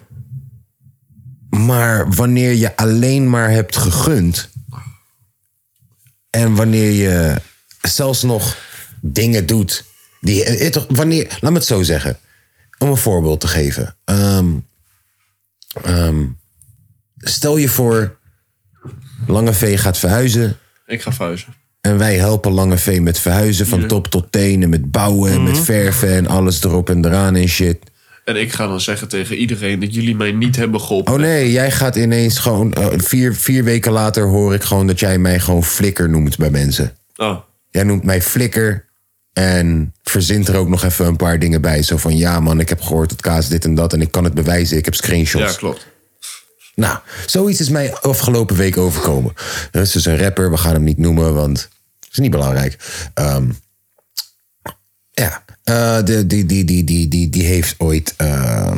S1: Maar wanneer je alleen maar hebt gegund. En wanneer je zelfs nog dingen doet. Die, eh, eh, toch, wanneer, laat me het zo zeggen. Om een voorbeeld te geven. Ehm, ehm, stel je voor, Lange V gaat verhuizen.
S4: Ik ga verhuizen.
S1: En wij helpen Lange V met verhuizen van top tot tenen. Met bouwen, en met verven en alles erop en eraan en shit.
S4: En ik ga dan zeggen tegen iedereen dat jullie mij niet hebben geholpen.
S1: Oh nee, jij gaat ineens gewoon... eh, vier, vier weken later hoor ik gewoon dat jij mij gewoon flikker noemt bij mensen.
S4: Oh,
S1: Jij noemt mij flikker. En verzint er ook nog even een paar dingen bij. Zo van, ja man, ik heb gehoord dat kaas dit en dat. En ik kan het bewijzen, ik heb
S4: ja,
S1: screenshots.
S4: klopt.
S1: nou, zoiets is mij afgelopen week overkomen. Er is dus een rapper, we gaan hem niet noemen, want het is niet belangrijk. Ehm, ja, eh, de, die, die, die, die, die, die heeft ooit... eh,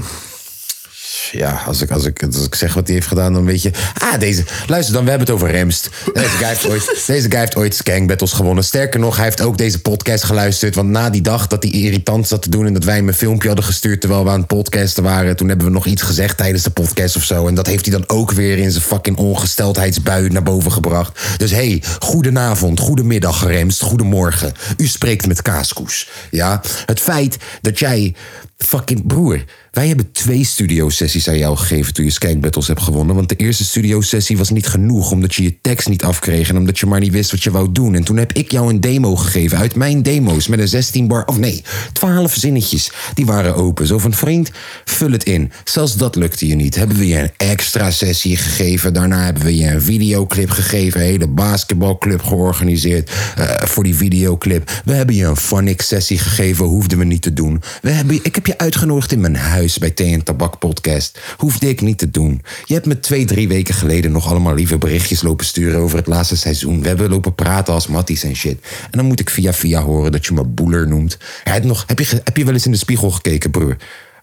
S1: ja, als ik, als, ik, als ik zeg wat hij heeft gedaan, dan weet je... Ah, deze... Luister dan, we hebben het over Remst. Deze guy heeft ooit, deze guy heeft ooit Skank Battles gewonnen. Sterker nog, hij heeft ook deze podcast geluisterd. Want na die dag dat hij irritant zat te doen... en dat wij hem een filmpje hadden gestuurd terwijl we aan het podcasten waren... toen hebben we nog iets gezegd tijdens de podcast of zo. En dat heeft hij dan ook weer in zijn fucking ongesteldheidsbui naar boven gebracht. Dus hé, hey, goedenavond, goedemiddag Remst, goedemorgen. U spreekt met Kaaskoes, ja? Het feit dat jij... Fucking broer... Wij hebben twee studiosessies aan jou gegeven toen je Skank Battles hebt gewonnen. Want de eerste studiosessie was niet genoeg omdat je je tekst niet afkreeg. En omdat je maar niet wist wat je wou doen. En toen heb ik jou een demo gegeven uit mijn demo's. Met een 16 bar, of nee, 12 zinnetjes. Die waren open. Zo van vriend, vul het in. Zelfs dat lukte je niet. Hebben we je een extra sessie gegeven. Daarna hebben we je een videoclip gegeven. Een hele basketbalclub georganiseerd eh, voor die videoclip. We hebben je een phonics sessie gegeven. Hoefden we niet te doen. We hebben, ik heb je uitgenodigd in mijn huis bij Thee en Tabak podcast. Hoefde ik niet te doen. Je hebt me twee, drie weken geleden nog allemaal lieve berichtjes lopen sturen over het laatste seizoen. We hebben lopen praten als matties en shit. En dan moet ik via via horen dat je me boeler noemt. Hij had nog, heb, je, ge- heb je wel eens in de spiegel gekeken, broer?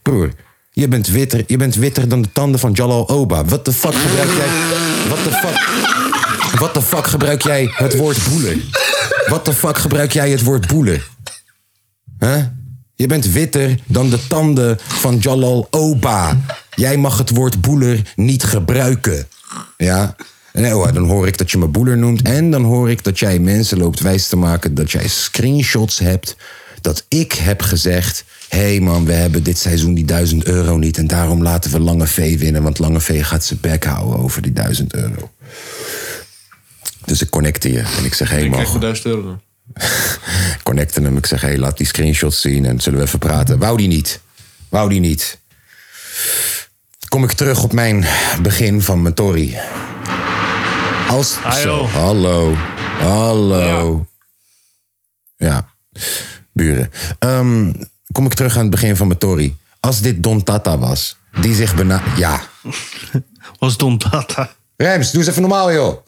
S1: Broer, je bent witter, je bent witter dan de tanden van Jalal Oba. Wat de fuck gebruik jij... Wat de fuck... Wat de fuck gebruik jij het woord boelen? Wat de fuck gebruik jij het woord boelen? Huh? Je bent witter dan de tanden van Jalal Oba. Jij mag het woord boeler niet gebruiken. Ja? Nee, hoor, dan hoor ik dat je me boeler noemt. En dan hoor ik dat jij mensen loopt wijs te maken dat jij screenshots hebt. Dat ik heb gezegd: hé hey man, we hebben dit seizoen die 1000 euro niet. En daarom laten we Lange V winnen. Want Lange V gaat zijn bek houden over die 1000 euro. Dus ik connecte je. En ik zeg: hé hey man,
S4: Krijg voor 1000 euro dan.
S1: connecten hem. Ik zeg, hey, laat die screenshots zien en zullen we even praten. Wou die niet. Wou die niet. Kom ik terug op mijn begin van mijn Tory. Als... Zo, hallo. Hallo. Ja. Buren. Ehm, kom ik terug aan het begin van mijn Tory. Als dit Don Tata was, die zich bena... Ja.
S2: Was Don Tata.
S1: Rems, doe eens even normaal, joh.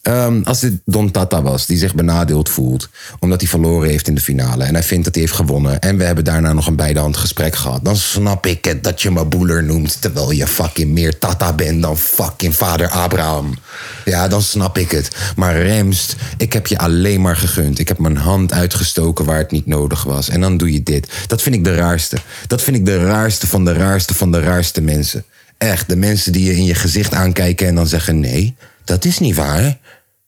S1: Ehm, als dit Don Tata was, die zich benadeeld voelt. omdat hij verloren heeft in de finale. en hij vindt dat hij heeft gewonnen. en we hebben daarna nog een bijdehand gesprek gehad. dan snap ik het dat je me boeler noemt. terwijl je fucking meer Tata bent dan fucking vader Abraham. Ja, dan snap ik het. Maar Remst, ik heb je alleen maar gegund. Ik heb mijn hand uitgestoken waar het niet nodig was. en dan doe je dit. Dat vind ik de raarste. Dat vind ik de raarste van de raarste van de raarste mensen. Echt, de mensen die je in je gezicht aankijken en dan zeggen: nee, dat is niet waar.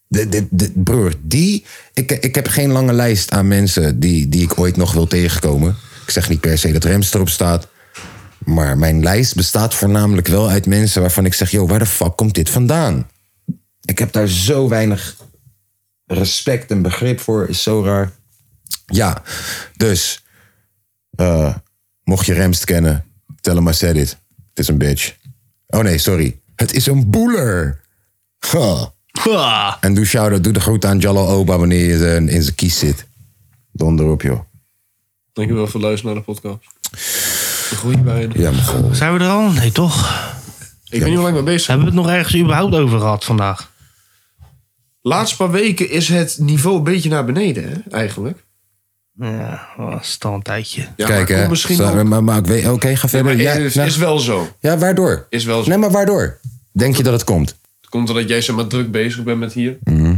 S1: De, de, de- broer, die. Ik, ik heb geen lange lijst aan mensen die, die ik ooit nog wil tegenkomen. Ik zeg niet per se dat Rems erop staat. Maar mijn lijst bestaat voornamelijk wel uit mensen waarvan ik zeg: joh, waar de fuck komt dit vandaan? Ik heb daar zo weinig respect en begrip voor. Is zo raar. Ja, dus. eh, mocht je Remst kennen, tell him I said it. Het is een bitch. Oh nee, sorry. Het is een boeler. Huh.
S2: Ha.
S1: En doe shout doe de groet aan Jalal Oba wanneer je eh, in zijn kies zit. Donder op, joh.
S4: Dankjewel voor het luisteren naar de podcast. De groei bij.
S1: Ja, maar goh.
S2: Zijn we er al? Nee, toch?
S4: Ik ben niet hoe lang mee bezig.
S2: Hebben we het nog ergens überhaupt over gehad vandaag?
S4: Laatste paar weken is het niveau een beetje naar beneden, hè, eigenlijk.
S2: Ja, was het al een tijdje.
S4: Ja,
S1: Kijk,
S4: maar
S1: hè.
S4: komt Misschien
S1: Zo,
S4: ook-
S1: maar, maar ik weet, oké, ga
S4: Ja, maar
S1: verder. Ja,
S4: is,
S1: nou,
S4: is wel zo.
S1: ja, waardoor?
S4: Is wel zo.
S1: Nee, maar waardoor? Denk je dat het komt?
S4: Komt omdat jij zeg maar druk bezig bent met hier.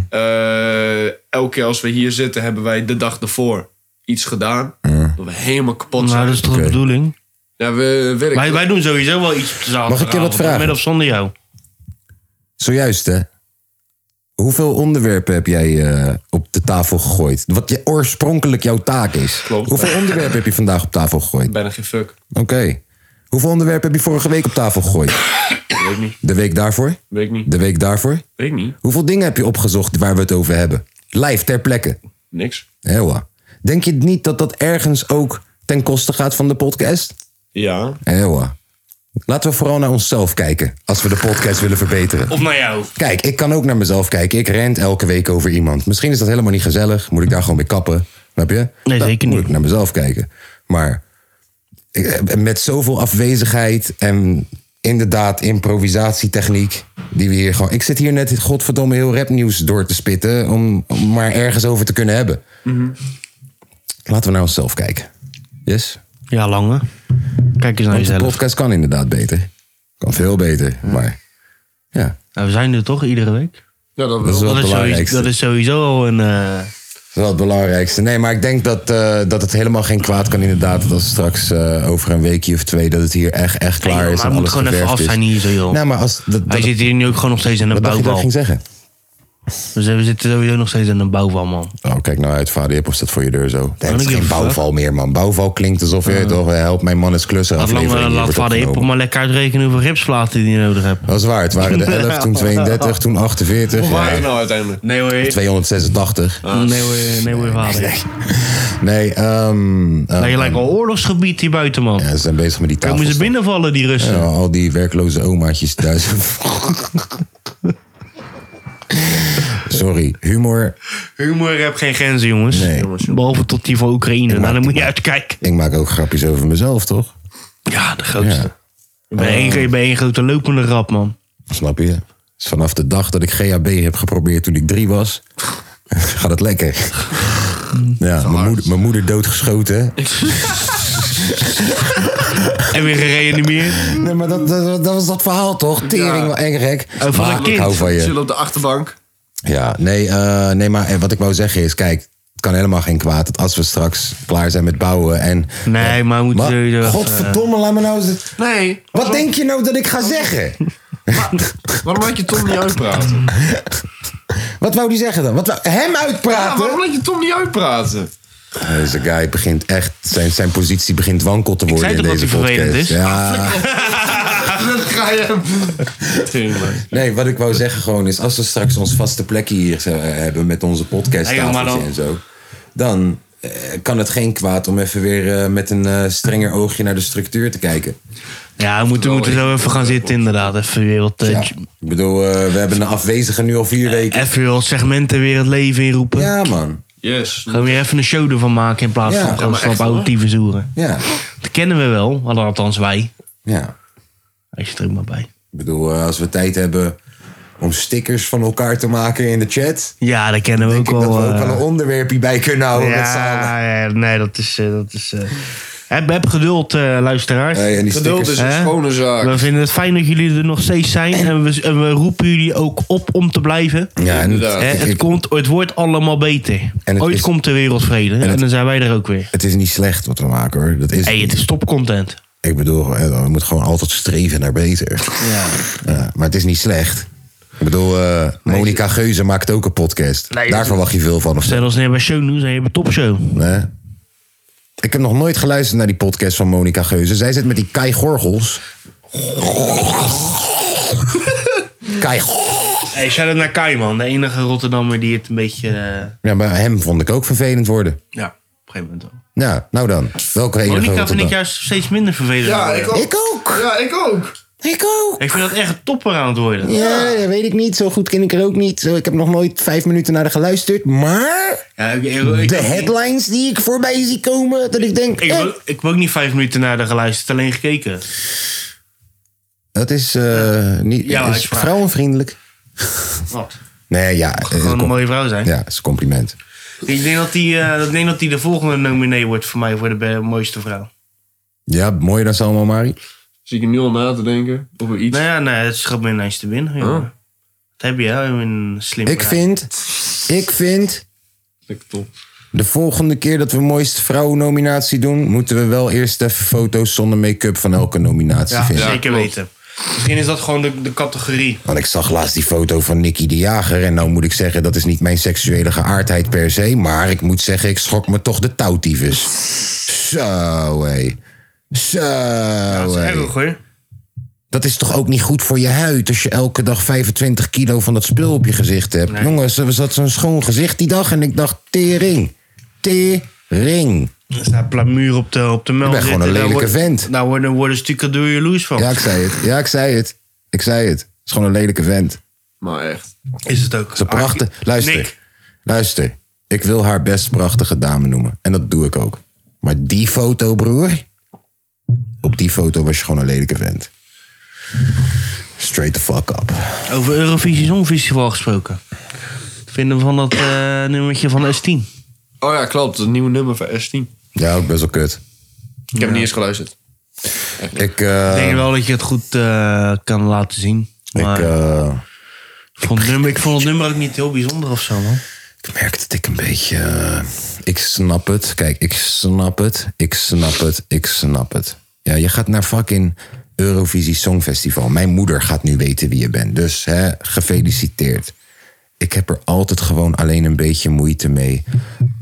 S4: Eh, elke keer als we hier zitten, hebben wij de dag ervoor iets gedaan. Dat we helemaal kapot zijn.
S2: Nou, dat is toch
S1: Oké.
S2: de bedoeling?
S4: Ja, we werken.
S2: Wij, wij doen sowieso wel iets op de zaterdag.
S1: Mag ik je wat vragen?
S2: Met of zonder jou.
S1: Zojuist, hè? Hoeveel onderwerpen heb jij eh, op de tafel gegooid? Wat je, oorspronkelijk jouw taak is.
S4: Klopt.
S1: Hoeveel onderwerpen heb je vandaag op tafel gegooid?
S4: Bijna geen fuck.
S1: Oké. Hoeveel onderwerpen heb je vorige week op tafel gegooid?
S4: Weet niet.
S1: De week daarvoor?
S4: Weet niet.
S1: De week daarvoor?
S4: Weet niet.
S1: Hoeveel dingen heb je opgezocht waar we het over hebben? Live, ter plekke.
S4: Niks.
S1: Heel waar. Denk je niet dat dat ergens ook ten koste gaat van de podcast?
S4: Ja.
S1: Heel waar. Laten we vooral naar onszelf kijken als we de podcast willen verbeteren.
S2: Of naar jou.
S1: Kijk, ik kan ook naar mezelf kijken. Ik rent elke week over iemand. Misschien is dat helemaal niet gezellig. Moet ik daar gewoon mee kappen? Snap je?
S2: Nee,
S1: Dan
S2: zeker
S1: Moet
S2: niet.
S1: ik naar mezelf kijken. Maar eh, met zoveel afwezigheid en inderdaad improvisatietechniek die we hier gewoon... Ik zit hier net het godverdomme heel rapnieuws door te spitten... Om, om maar ergens over te kunnen hebben.
S2: Mhm.
S1: Laten we naar onszelf kijken. Yes?
S2: Ja, lange. Kijk eens naar
S1: Want de
S2: jezelf.
S1: podcast kan inderdaad beter. Kan veel beter, maar... Ja,
S2: Nou, we zijn er toch iedere week?
S4: Ja, dat
S1: dat is
S4: wel.
S1: wel het
S2: Dat is, sowieso,
S1: belangrijkste.
S2: dat is sowieso al een... eh,
S1: Dat is wel het belangrijkste. Nee, maar ik denk dat, eh, dat het helemaal geen kwaad kan inderdaad. Dat als straks eh, over een weekje of twee dat het hier echt, echt
S2: Nee,
S1: klaar
S2: joh,
S1: is.
S2: maar
S1: en
S2: het moet
S1: alles
S2: gewoon even
S1: geverfd
S2: af
S1: is.
S2: zijn hier zo, joh.
S1: Nou, maar als, dat, dat,
S2: Hij zit hier nu ook gewoon nog steeds in een
S1: wat dacht je dat ik
S2: bouwbal.
S1: ging zeggen?
S2: Dus eh, we zitten sowieso nog steeds in een bouwval, man.
S1: Oh, kijk nou uit, vader Hip, of staat voor je deur zo? Nee,
S2: ik
S1: het is
S2: give
S1: geen
S2: a fuck.
S1: bouwval meer, man. Bouwval klinkt alsof je toch eh, help mijn man is klussen.
S2: Laat, lang,
S1: aflevering
S2: eh,
S1: hier
S2: laat
S1: wordt
S2: vader Hip
S1: opgenomen.
S2: maar lekker uitrekenen hoeveel ripsplaten die je nodig hebt.
S1: Dat is waar, het waren de 11, toen 32, toen 48.
S4: Waar
S1: ja,
S4: nou uiteindelijk?
S2: Nee hoor.
S1: 286.
S2: Nee hoor, nee hoor, eh, vader.
S1: Nee, ehm eh,
S2: Nou, je lijkt al oorlogsgebied hier buiten, man.
S1: ja, ze zijn bezig met die tafel.
S2: Komen ze binnenvallen, die Russen?
S1: Ja, al die werkloze omaatjes thuis. Sorry, humor.
S2: Humor heeft geen grenzen, jongens.
S1: Nee.
S2: Behalve tot die van Oekraïne. Nou, dan moet je uitkijken.
S1: Ik maak ook grapjes over mezelf, toch?
S2: Ja, de grootste.
S1: Ja.
S2: Je bent één- je bent één grote lopende rap, man.
S1: Snap je? Dus vanaf de dag dat ik GHB heb geprobeerd toen ik drie was, gaat het lekker. Ja, mijn moeder, mijn moeder doodgeschoten.
S2: En weer gereanimeerd.
S1: Nee, maar dat, dat, dat was dat verhaal toch? Tering, wel eng gek.
S2: van
S1: Maar
S2: een kind.
S1: Ik hou van je.
S4: Zullen op de achterbank.
S1: Ja, nee, eh, nee, maar eh, wat ik wou zeggen is, kijk, het kan helemaal geen kwaad dat als we straks klaar zijn met bouwen en...
S2: Nee, maar we moeten
S1: Maar,
S2: sowieso even- eh,
S1: godverdomme, laat me nou eens...
S4: Nee,
S1: Wat denk je nou dat ik ga zeggen?
S4: waarom laat je Tom niet uitpraten?
S1: Wat wou die zeggen dan? Wat wou- hem
S4: Ja,
S1: uitpraten?
S4: waarom laat je Tom niet uitpraten?
S1: Deze guy begint echt, zijn, zijn positie begint wankel te worden
S2: zei
S1: in
S2: toch dat
S1: deze
S2: hij
S1: podcast.
S2: vervelend is?
S1: Ja,
S4: Dat ga je hebben.
S1: nee, wat ik wou zeggen gewoon is, als we straks ons vaste plekje hier zo, eh, hebben met onze
S2: Hey, joh, maar
S1: podcasttafeltjes
S2: dan-
S1: en zo, dan eh, kan het geen kwaad om even weer eh, met een eh, strenger oogje naar de structuur te kijken.
S2: eh, Ja, we moeten, we moeten zo even gaan zitten, inderdaad. Even weer wat, eh,
S1: Ja.
S2: j-
S1: Ik bedoel, eh, we hebben een afwezige nu al
S2: Eh,
S1: vier weken.
S2: even weer wat segmenten weer het leven inroepen.
S1: Ja, man.
S4: Yes.
S2: Gewoon weer even een show ervan maken in plaats
S1: Ja.
S2: van
S1: Ja,
S2: gewoon
S1: maar
S2: slap
S4: echt,
S2: oude
S4: hoor.
S2: tyfus zoeren.
S1: Ja,
S2: Dat kennen we wel, althans wij.
S1: ja.
S2: Als je er ook maar bij.
S1: Ik bedoel, eh, als we tijd hebben om stickers van elkaar te maken in de chat.
S2: Ja, dat kennen we
S1: Denk
S2: ook
S1: ik dat we
S2: al.
S1: ook wel een onderwerpje bij kunnen houden met z'n allen.
S2: ja, ja, nee, dat is... eh, dat is eh, heb, heb geduld, eh, luisteraars.
S1: Hey, en die
S4: Geduld
S1: stickers.
S4: is een
S2: Hè?
S4: schone zaak.
S2: We vinden het fijn dat jullie er nog steeds zijn. En we, en we roepen jullie ook op om te blijven.
S1: Ja, en
S4: Inderdaad.
S2: Hè,
S1: het,
S2: het,
S1: ik-
S2: komt, het wordt allemaal beter.
S1: En het
S2: Ooit
S1: is-
S2: komt de wereldvrede. En, dan zijn wij er ook weer.
S1: het is niet slecht wat we maken hoor. Dat is,
S2: hey, het is topcontent.
S1: Ik bedoel, eh, we moeten gewoon altijd streven naar beter.
S2: Ja.
S1: Ja, maar het is niet slecht. Ik bedoel, eh Monica Geuze maakt ook een podcast.
S2: Nee,
S1: Daar
S2: dat-
S1: verwacht je veel van of zo.
S2: Zijn ons neer bij Show News en je hebt Topshow.
S1: hè? Ik heb nog nooit geluisterd naar die podcast van Monica Geuze. Zij zit met die Kai Gorgels. Kai
S2: Hey, shout-out naar Kai, man. De enige Rotterdammer die het een beetje... eh,
S1: Ja, maar hem vond ik ook vervelend worden.
S2: ja, op een gegeven moment wel.
S1: Ja, nou dan. Welke enige
S2: Monica vind ik
S1: Rotterdam-
S2: juist steeds minder vervelend.
S4: Ja, ik ook.
S1: Ik ook!
S4: Ja, ik ook.
S1: Ik ook!
S2: Ik vind dat echt een topper aan het worden.
S1: Ja, dat weet ik niet. Zo goed ken ik er ook niet. Zo, Ik heb nog nooit vijf minuten naar haar geluisterd. Maar
S2: Ja, ik, ik- ik-
S1: de headlines die ik voorbij zie komen, dat ik denk...
S2: Ik,
S1: eh,
S2: heb ook- ik heb ook niet vijf minuten naar de geluisterd, alleen gekeken.
S1: dat is, eh, niet,
S2: Ja,
S1: is
S2: ik vraag.
S1: vrouwenvriendelijk.
S2: Wat?
S1: Nee, ja. eh,
S2: Gewoon een
S1: kom-
S2: mooie vrouw zijn.
S1: Ja, dat is een compliment.
S2: Ik denk dat die, eh, ik denk dat die de volgende nominee wordt voor mij voor de be- mooiste vrouw.
S1: Ja, mooier dan Salma Mari.
S4: Zie ik er nu al na te denken over iets.
S2: Nou ja, nee, het schat me ineens te binnen. jongen. Dat heb je, hè? Een slim
S1: Ik vind, ik vind,
S4: Lekker top.
S1: de volgende keer dat we mooiste vrouwennominatie doen... moeten we wel eerst even foto's zonder make-up van elke nominatie
S2: Ja,
S1: vinden.
S2: zeker
S4: klopt.
S2: weten. Misschien is dat gewoon de, de categorie.
S1: Want ik zag laatst die foto van Nicky de Jager. En nou moet ik zeggen, dat is niet mijn seksuele geaardheid per se. Maar ik moet zeggen, ik schrok me toch de touwtyfus. Zo, hé. Zo,
S2: Dat is
S1: hé.
S2: erg hoor.
S1: Dat is toch ook niet goed voor je huid... als je elke dag 25 kilo van dat spul op je gezicht hebt. Jongens, er zat zo'n schoon gezicht die dag. En ik dacht, tering. Tering.
S2: Er staat plamuur op de, op de meld.
S1: bent gewoon
S2: zitten,
S1: een
S2: daar
S1: lelijke
S2: wordt-
S1: vent.
S2: Daar worden, worden stukken door jaloers van.
S1: Ja, ik zei het. Ja, ik zei het. Ik zei het. Het is gewoon een lelijke vent.
S4: Maar echt.
S2: Is het ook.
S1: Ze prachtig. Luister.
S2: Ah, Nick.
S1: Luister. Ik wil haar best prachtige dame noemen. En dat doe ik ook. Maar die foto, broer. Op die foto was je gewoon een lelijke vent. Straight the fuck up.
S2: Over Eurovisie Songfestival gesproken. Wat vinden we van dat eh, nummertje van S10?
S4: Oh ja, klopt. Het nieuwe nummer van S10.
S1: Ja, ook best wel kut.
S4: Ik heb niet eens geluisterd.
S1: Ik, eh,
S2: Ik denk wel dat je het goed eh, kan laten zien. Maar
S1: ik, eh,
S2: ik, vond het nummer, ik vond het nummer ook niet heel bijzonder of zo, man.
S1: ik merk dat ik een beetje... eh, ik snap het. Kijk, ik snap het. Ik snap het. Ik snap het. Ja, je gaat naar fucking Eurovisie Songfestival. Mijn moeder gaat nu weten wie je bent. Dus, hè, gefeliciteerd. ik heb er altijd gewoon alleen een beetje moeite mee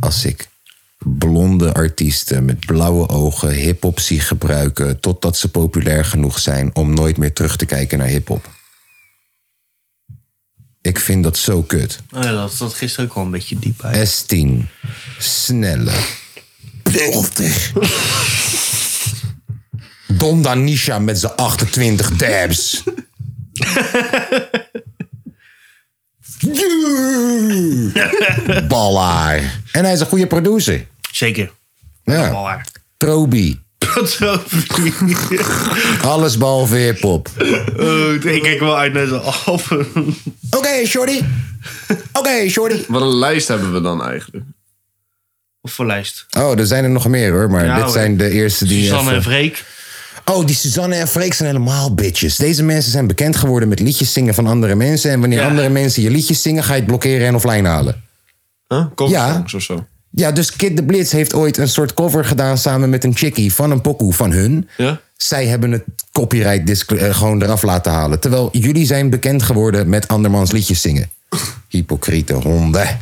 S1: als ik blonde artiesten met blauwe ogen hip-hop zie gebruiken totdat ze populair genoeg zijn om nooit meer terug te kijken naar hip-hop. Ik vind dat zo kut.
S2: Oh ja, dat zat gisteren ook al een beetje diep uit.
S1: S10. Snelle. Plechtig. Donda Nisha met zijn 28 tabs. Yeah. Ballaar. En hij is een goede producer.
S2: Zeker.
S1: Ja. Probi. Alles behalve hip-hop.
S2: Oh, ik kijk wel uit naar zijn album.
S1: Oké, shorty. Oké, shorty.
S4: Wat een lijst hebben we dan eigenlijk?
S2: Of voor lijst.
S1: Oh, er zijn er nog meer hoor, maar
S2: Ja,
S1: dit
S2: hoor.
S1: zijn de eerste die.
S2: Susanne
S1: even-
S2: en Freek.
S1: Oh, die Suzanne en Freek zijn helemaal bitches. Deze mensen zijn bekend geworden met liedjes zingen van andere mensen. En wanneer
S2: Ja.
S1: andere mensen je liedjes zingen, ga je het blokkeren en offline halen.
S4: Huh? Cover
S1: Ja.
S4: songs of zo.
S1: Ja, dus Kid de Blitz heeft ooit een soort cover gedaan samen met een chickie van een pokoe van hun.
S4: Ja?
S1: Zij hebben het copyright disc- eh, gewoon eraf laten halen. Terwijl jullie zijn bekend geworden met andermans liedjes zingen. Hypocriete honden.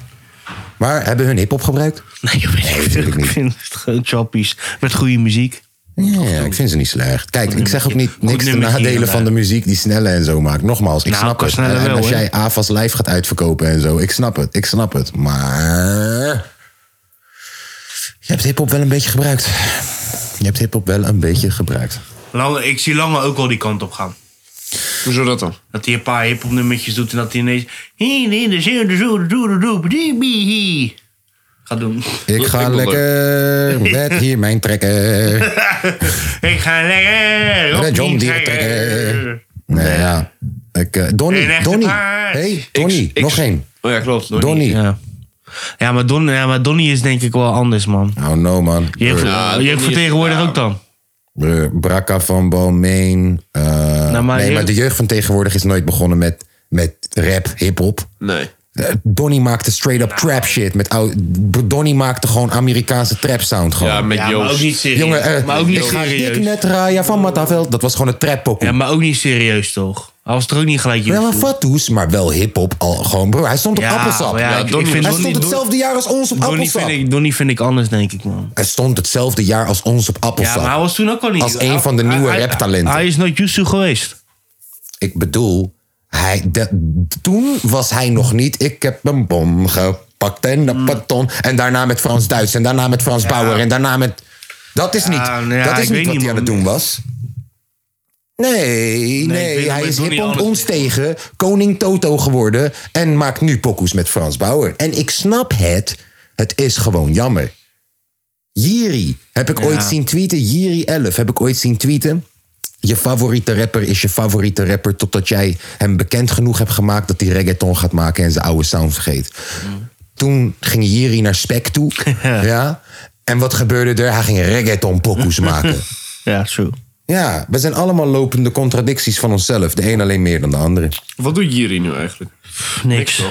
S1: Maar hebben hun hip-hop gebruikt?
S2: Nee, ik weet niet.
S1: natuurlijk
S2: Ik
S1: niet.
S2: vind het gewoon chappies. Met goede muziek.
S1: Ja, ik vind ze niet slecht. Kijk, ik zeg ook niet niks te
S2: nummertje
S1: nadelen
S2: inderdaad.
S1: van de muziek die snelle en zo maakt. Nogmaals, ik
S2: Nou,
S1: snap
S2: qua
S1: het.
S2: snelle
S1: En, en
S2: wel,
S1: als
S2: hoor.
S1: jij AFAS live gaat uitverkopen en zo, ik snap het, ik snap het. Maar je hebt hiphop wel een beetje gebruikt. Je hebt hiphop wel een beetje gebruikt.
S2: Lange, ik zie Lange ook al die kant op gaan.
S4: Hoezo dat dan?
S2: Dat hij een paar hip-hop nummertjes doet en dat hij ineens. Hee, nee, de zeer, de zoer, de doer, de doep, die, bie, hee. Gaat doen.
S1: Ik ga
S4: wil
S1: lekker met hier mijn trekker.
S2: Ik ga lekker. op
S1: Met John
S2: die
S1: Deere trekker.
S2: trekker.
S1: Nee, ja. Ik, eh,
S2: Een
S1: Donnie,
S2: echte
S1: Donnie.
S2: baas.
S1: hey, Donnie,
S4: Ik- ik-
S1: nog één.
S4: Oh ja, klopt. Donnie.
S1: Donnie.
S2: Ja. Ja, maar Don, ja, maar Donnie is denk ik wel anders, man.
S1: Oh no, man.
S2: Je hebt,
S4: Ja,
S2: je
S4: Donnie
S2: hebt
S4: is-
S2: vertegenwoordig
S4: ja.
S2: ook dan.
S1: Eh, Brakka van Balmain. eh,
S2: Nou, maar
S1: nee,
S2: heel-
S1: maar de jeugd van tegenwoordig is nooit begonnen met, met rap, hip-hop.
S4: Nee.
S1: Eh, Donnie maakte straight
S2: Nou.
S1: up trap shit. Met ou- Donnie maakte gewoon Amerikaanse trap sound. Gewoon.
S4: Ja, met
S2: Ja,
S4: Joost.
S2: maar ook niet serieus.
S1: Jongen, eh,
S2: maar ook niet
S1: ik ga
S2: serieus.
S1: dik net Raya van Mataveld. Dat was gewoon een trap pokoe.
S2: Ja, maar ook niet serieus, toch? Hij was er ook niet gelijk
S1: Ja, maar
S2: Joost voor.
S1: Fatoes, maar wel hip-hop. Al, gewoon, bro, hij stond op
S2: Ja,
S1: appelsap.
S2: maar ja, ik- ik
S1: hij
S2: vind
S1: stond
S2: Donnie-
S1: hetzelfde jaar als ons op
S2: Donnie
S1: appelsap.
S2: vind, ik, Donnie vind ik anders, denk ik, man.
S1: Hij stond hetzelfde jaar als ons op
S2: Ja,
S1: appelsap.
S2: maar hij was toen ook al niet...
S1: Als
S2: hij-
S1: een van de
S2: hij-
S1: nieuwe
S2: hij-
S1: raptalenten.
S2: Hij is nooit Yusu geweest.
S1: Ik bedoel, hij, de- toen was hij nog niet. Ik heb een bom gepakt en
S2: Mm.
S1: een paton. En daarna met Frans Duits. En daarna met Frans Bauer. En daarna met. Dat is niet,
S2: nou ja,
S1: dat
S2: ik
S1: is
S2: weet
S1: niet wat
S2: niet,
S1: hij aan het
S2: man.
S1: doen was. Nee, nee,
S2: ik weet
S1: hij
S2: het,
S1: is hip
S2: maar ik doe niet
S1: op
S2: alles
S1: ons tegen, koning Toto geworden en maakt nu pokoes met Frans Bauer. En ik snap het, het is gewoon jammer. Jiri heb ik ooit zien tweeten. Jiri 11 heb ik ooit zien tweeten. Je favoriete rapper is je favoriete rapper totdat jij hem bekend genoeg hebt gemaakt dat hij reggaeton gaat maken en zijn oude sound vergeet.
S2: Mm.
S1: Toen ging Jiri naar Spec toe. ja. En wat gebeurde er? Hij ging reggaeton pokoes maken.
S2: Ja, true.
S1: Ja, we zijn allemaal lopende contradicties van onszelf. De een alleen meer dan de andere.
S4: Wat doet Jiri nu eigenlijk?
S2: Pff, niks.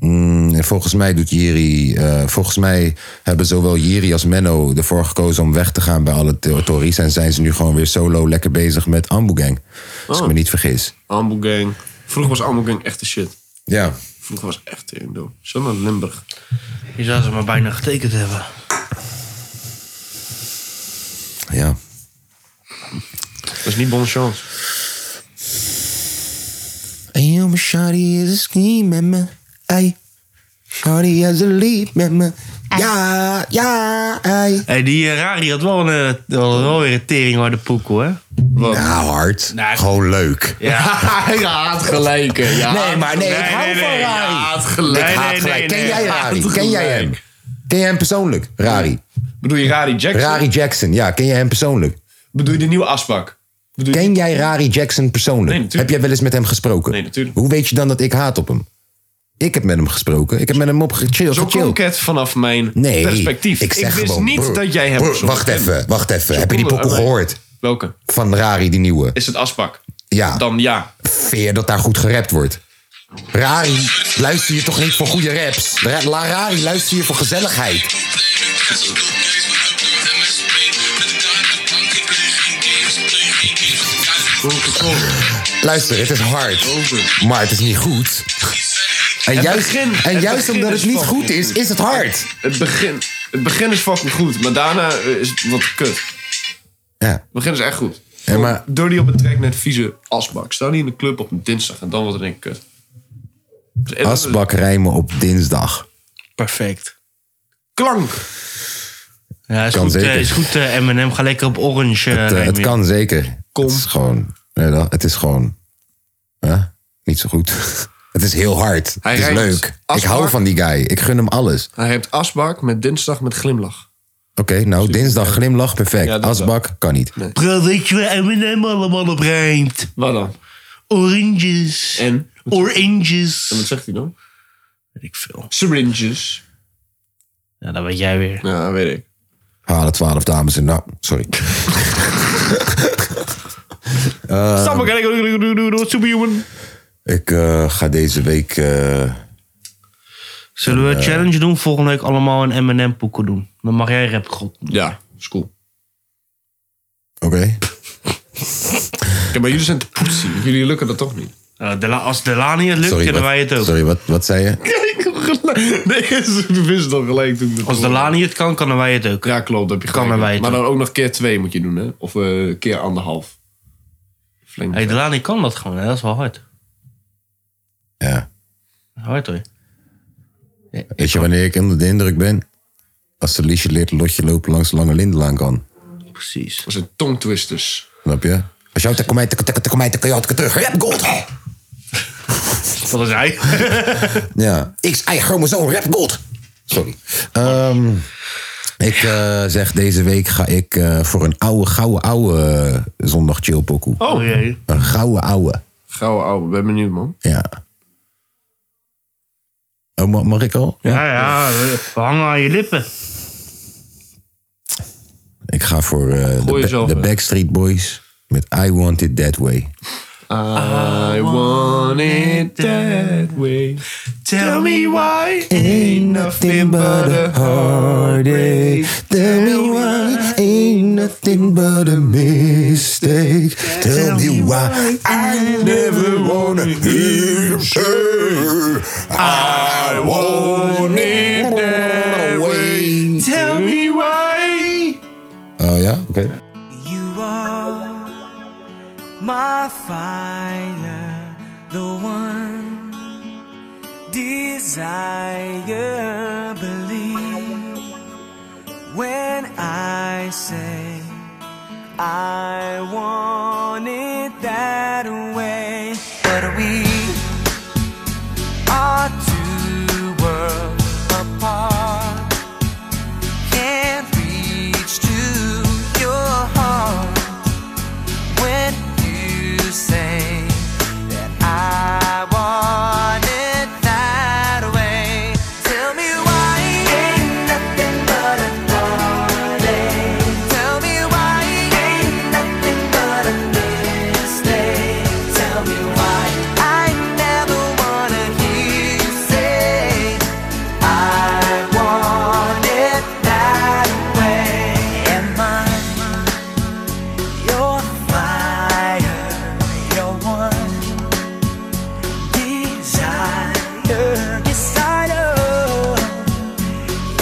S1: Mm, en volgens mij doet Jiri. eh, volgens mij hebben zowel Jiri als Menno ervoor gekozen om weg te gaan bij alle territories. En zijn ze nu gewoon weer solo lekker bezig met Ambu Gang. Als
S4: Oh.
S1: ik me niet vergis.
S4: Ambo Gang. Vroeger was Ambo Gang echt de shit.
S1: Ja.
S4: Vroeger was echt een dood. Zo naar Limburg.
S2: Je zou ze maar bijna getekend hebben.
S1: ja.
S4: Dat is niet bon chance.
S1: Hey, yo, mijn shawty is een ski met me. Hey, shawty is een lief met me. Ja, ja, hey.
S2: Hey, die eh, Rari had wel, een, eh, wel, wel weer een tering harde poekel, hè?
S1: Nou, hard.
S2: Nee.
S1: Gewoon leuk.
S4: Ah, Hij haat gelijk. Ja.
S1: Nee, maar nee,
S2: Nee,
S1: ik hou
S2: nee,
S1: van
S2: nee.
S1: Rari.
S4: haat gelijk.
S1: ik
S2: Nee,
S1: haat
S2: nee,
S1: gelijk.
S2: nee,
S1: Ken
S2: nee,
S1: jij
S2: haat
S1: Rari?
S4: gelijk.
S1: Ken jij hem? Ken jij hem persoonlijk? Rari.
S4: Bedoel je Rari Jackson?
S1: Rari Jackson, ja, ken jij hem persoonlijk?
S4: Bedoel je de nieuwe asbak? Bedoel je...
S1: Ken jij Rari Jackson persoonlijk?
S4: Nee, natuurlijk.
S1: heb jij wel eens met hem gesproken?
S4: Nee, natuurlijk.
S1: Hoe weet je dan dat ik haat op hem? Ik heb met hem gesproken. Ik heb met hem opgechill.
S4: Zo klonk het vanaf mijn
S1: Nee,
S4: perspectief.
S1: ik zeg
S4: wist
S1: gewoon,
S4: niet
S1: broer,
S4: dat jij hem
S1: broer,
S4: persoonlijk
S1: Wacht
S4: kent.
S1: even, wacht even. Heb je die
S4: klonk het
S1: pokoe
S4: aan mij.
S1: gehoord?
S4: Welke?
S1: Van Rari, die nieuwe.
S4: Is het asbak?
S1: Ja.
S4: Dan ja.
S1: Veer dat daar goed gerapt wordt. Rari, luister je toch niet voor goede raps? Ra- La Rari, luister je voor gezelligheid? Luister, het is hard. Maar het is niet goed. En juist,
S4: begin-
S1: en
S4: het
S1: juist
S4: begin
S1: omdat het
S4: is
S1: niet
S4: fucking
S1: goed is, is het hard.
S4: Het begin, het begin is fucking goed, maar daarna eh, is het wat kut.
S1: Ja.
S4: Het begin is echt goed.
S1: Ja, maar-
S4: Doe die op een track net vieze asbak. Sta niet in de club op een dinsdag en dan wordt het denk ik kut. Dus- en-
S1: Asbak rijmen op dinsdag.
S2: Perfect.
S4: Klank.
S2: Ja, is
S1: Kan
S2: goed,
S1: zeker.
S2: eh, is goed eh, M&M. Ga lekker op orange. eh,
S1: Het, eh,
S2: rijmen.
S1: het kan zeker. Het is gewoon... nee, dat- Het is gewoon... hè, Niet zo goed. Het is heel hard.
S4: Hij
S1: het is
S4: rijmt
S1: leuk. Ik
S4: Asbak.
S1: hou van die guy. Ik gun hem alles.
S4: Hij heeft asbak met dinsdag met glimlach.
S1: Oké, nou, dinsdag glimlach, perfect.
S4: Ja, dat
S1: Asbak, kan niet.
S2: Bro, weet je waar M&M allemaal op rijmt?
S4: Wat dan?
S2: Oranges.
S4: En?
S2: Oranges.
S4: En wat zegt hij dan?
S2: Weet ik veel.
S4: Syringes.
S2: Ja, dat weet jij weer.
S4: Ja, weet ik.
S1: Halen Ah, twaalf dames en... Nou, sorry.
S2: Stap, ik doe superhuman.
S1: Ik eh, ga deze week... eh,
S2: Zullen we een challenge doen? Volgende week allemaal een M&M poeken doen. Dan mag jij rap god.
S4: Ja, is cool.
S1: Oké.
S4: Kijk, maar jullie zijn te poetsie. Jullie lukken dat toch niet?
S2: Eh, de la- als Delani het lukt,
S1: Sorry,
S2: kunnen
S1: wat-
S2: wij het ook.
S1: Sorry, wat, wat zei je?
S4: Nee, ze wisten dat gelijk toen.
S2: Als Delani het kan, kunnen wij het ook.
S4: Ja, klopt. Dat heb je gelijk.
S2: Kan er weten.
S4: Maar dan ook nog keer twee moet je doen, hè? Of eh, keer anderhalf. Flink.
S2: Hey, Delani kan dat gewoon. Hè? Dat is wel hard.
S1: Ja.
S2: Hard hoor.
S1: Weet je wanneer ik onder de indruk ben? Als de Liesje leert lotje lopen langs Lange Lindelaan kan.
S2: Precies.
S4: Dat zijn tongtwisters.
S1: Snap je? Als jou te kom mij, te te- te kom mij, te kan jou te terug. Je hebt gold.
S2: Dat is hij.
S1: Ja. X, Y, chromosoom, je hebt gold. Sorry. Ehm, ik eh, zeg, deze week ga ik eh, voor een oude, gouden, oude eh, zondag chillpokoe.
S2: Oh jee.
S1: Een gouden, oude.
S4: Gouden ouwe, ben benieuwd, man.
S1: Ja. Oh, ma- mag ik al?
S2: Ja, ja. We we hangen aan je lippen.
S1: Ik ga voor eh, de, Ba-
S4: jezelf,
S1: de
S4: hè.
S1: Backstreet Boys met I Want It That Way.
S4: I want it that way.
S2: Tell me why.
S1: Ain't nothing but a heartache. Tell me why. Ain't nothing but a mistake. Tell me why. I never wanna hear you say. I want it that way.
S2: Tell me why.
S1: Oh ja, oké.
S5: You are my fire, the one desire. Believe when I say I want it that way. But we are two worlds apart can't reach to your heart when you say that I want it that way. Tell me why ain't nothing but a heartache. Tell me why ain't nothing but a mistake. Tell me why I never wanna hear you say. I want it that way. Am I your fire, your one desire? Yes, I know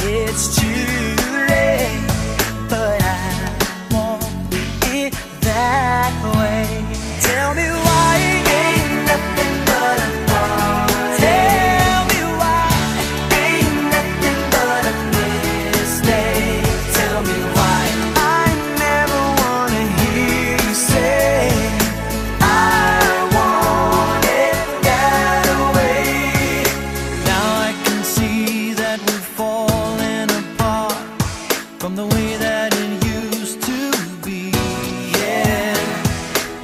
S5: it's too late, but I want it that way. Tell me why ain't nothing but a heartache. Tell me why ain't nothing but a mistake. Tell me why I never wanna hear you say I want it that way. Now I can see that we're falling apart from the way that it used to be. Yeah.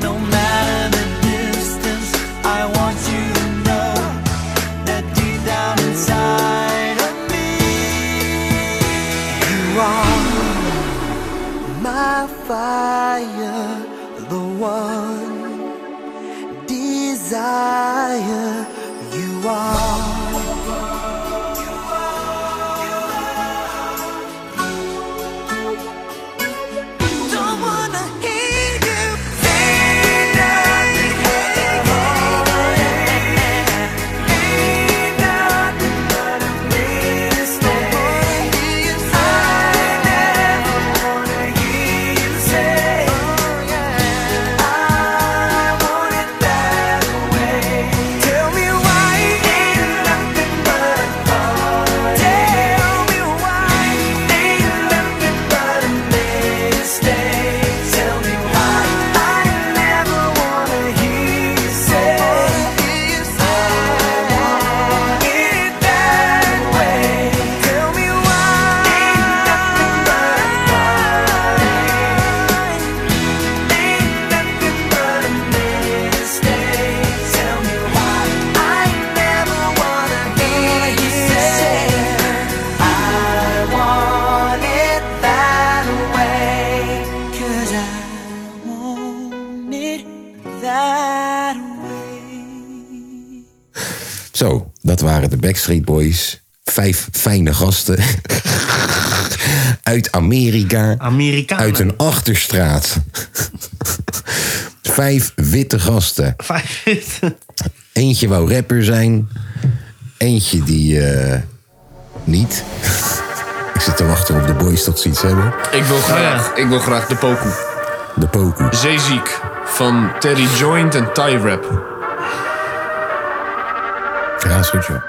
S5: No matter the distance, I want you to know that deep down inside of me, you are my fire, the one desire. You are. Don't wanna hear you say nothing, nothing, nothing, nothing,
S1: dat waren de Backstreet Boys. Vijf fijne gasten. uit Amerika.
S2: Amerikanen.
S1: Uit een achterstraat. Vijf witte gasten.
S2: Vijf.
S1: Eentje wou rapper zijn. Eentje die eh, niet. Ik zit te wachten op de boys tot ze iets hebben.
S9: Ik wil graag, ik wil graag de pokoe.
S1: De pokoe.
S9: Zeeziek van Terry Joint en Thai Rap.
S1: Ja, is goed joh.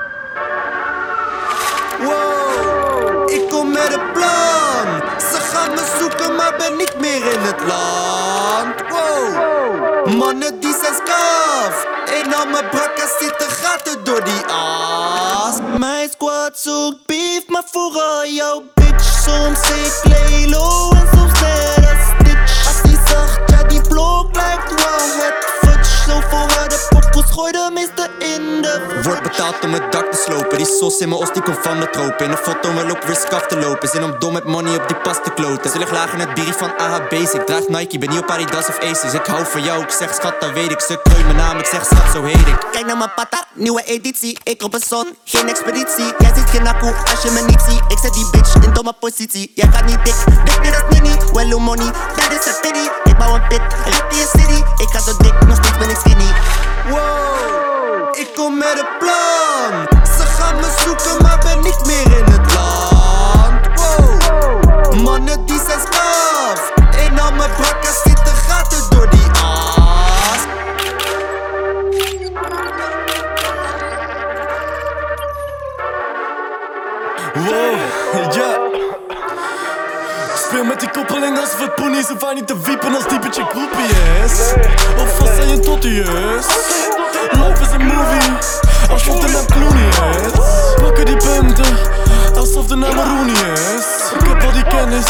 S5: Wow, ik kom met een plan. Ze gaan me zoeken, maar ben niet meer in het land. Wow, mannen die zijn skaf. En al mijn brakken zitten gaten door die as. Mijn squad zoekt beef, maar vooral jouw bitch. Soms ik Lelo en soms net als Stitch. Als die zacht, ja die blok lijkt wel het fudge. Zo voor haar de poppels, gooi de meeste in de Wordt betaald om het dak te slopen. Die sos in mijn os die komt van de tropen. In de foto wil ook weer skaf te lopen. Zin om dom met money op die pas te kloten. Ze ligt laag in het bier van AHB's. Ik draag Nike, ben niet op Adidas of Aces. Ik hou van jou, ik zeg schat, dat weet ik. Ze kreun mijn naam, ik zeg schat, zo heet ik. Kijk naar mijn pata, nieuwe editie. Ik op een zon, geen expeditie. Jij ziet geen akkoe als je me niet ziet. Ik zet die bitch in domme positie. Jij gaat niet dik, dik dit is nini. Well, money, dat is een pity. Ik bouw een pit, een lift in je city. Ik ga zo dik, nog steeds ben ik skinny. Wow, ik kom met een plan. Ze gaan me zoeken, maar ben niet meer in het land. Wow, mannen die zijn straf. In al mijn brakken zitten gaten door die as.
S10: Wow, ja. Speel met die koppeling als we ponies of waar niet te wiepen als typetje groepie is. Of vast zijn je tot die is. Life is a movie, als het een Clooney is. Pakken die punten, alsof de naam Rooney is. Ik heb al die kennis,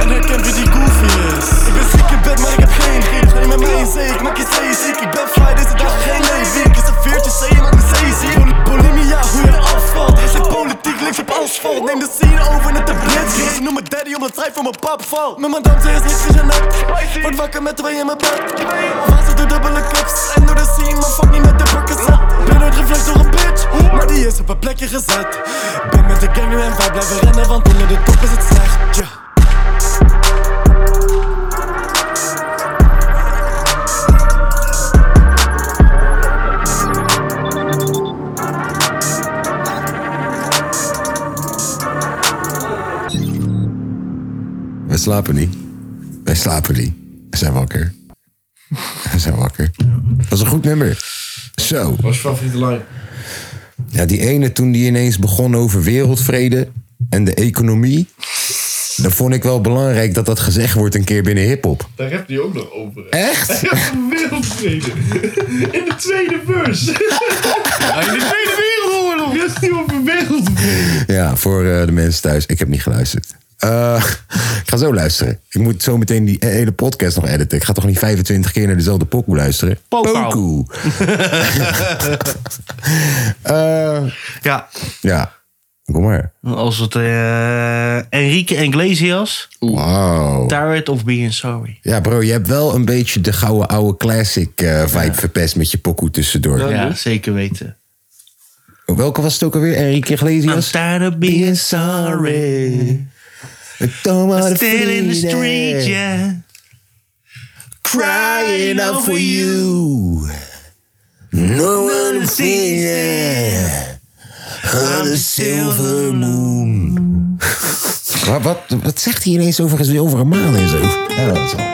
S10: en herken wie die goofy is. Ik ben ziek in bed, maar ik heb geen griep. Neem met mij in zee, ik maak je zee ziek. Ik ben fly, deze dag geen nee week. Is een veertje zee, je maakt me zee ziek. Pol- Bulimia, hoe je afvalt. Is het politiek, links op asfalt. Neem de scene over, net de blitz. Ik noem me daddy omdat zij voor mijn pap valt. Met mijn dansen is niks gegenet. Word wakker met twee in mijn bed. Was het de dubbele cups en door de scene, maar fuck niet met de Percocet. Ben nooit gevlecht door een bitch, maar die is op een plekje gezet. Ben met de gang nu en wij blijven rennen, want onder de top is het slecht. Ja.
S1: Wij slapen niet. Wij slapen niet. We zijn wakker. We zijn wakker. Dat is een goed nummer. Zo.
S4: Wat is je favoriete lijn?
S1: Ja, die ene toen die ineens begon over wereldvrede en de economie. Dan vond ik wel belangrijk dat dat gezegd wordt een keer binnen hip-hop.
S4: Daar heb je ook nog over.
S1: Echt?
S4: Ja, wereldvrede. In de tweede beurs. in de tweede wereldoorlog. Dat is niet over wereldvrede.
S1: Ja, voor eh, de mensen thuis. Ik heb niet geluisterd. Eh, ik ga zo luisteren. Ik moet zo meteen die hele podcast nog editen. Ik ga toch niet 25 keer naar dezelfde pokoe luisteren?
S2: Pokoe.
S1: Eh,
S2: Ja,
S1: ja, kom maar.
S2: als het eh, Enrique Iglesias,
S1: Wow.
S2: Tired of Being Sorry.
S1: Ja, bro, je hebt wel een beetje de gouden oude classic eh, vibe verpest met je pokoe tussendoor.
S2: Ja, zeker weten.
S1: Welke was het ook alweer? Enrique Iglesias?
S2: I'm tired of being sorry. Still in the street, yeah.
S1: Crying out for you. No one sees it. On the silver moon. Wat, wat, wat zegt hij ineens over, over een maan en zo? Ja, dat is al.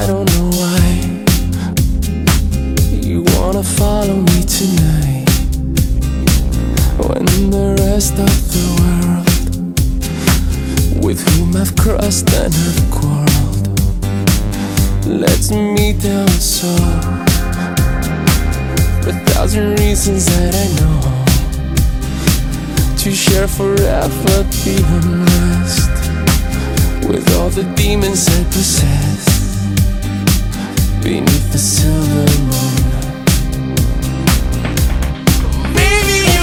S10: I don't know why you wanna follow me tonight when the rest of the world with whom I've crossed and have quarreled lets me down so a thousand reasons that I know to share forever the unrest with all the demons I possess beneath the silver moon. Maybe you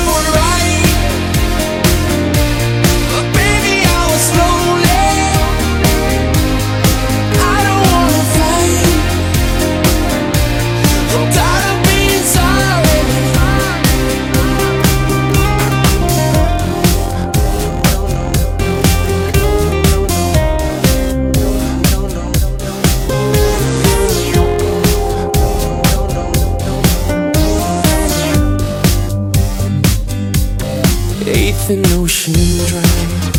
S11: Eighth and Ocean Drive,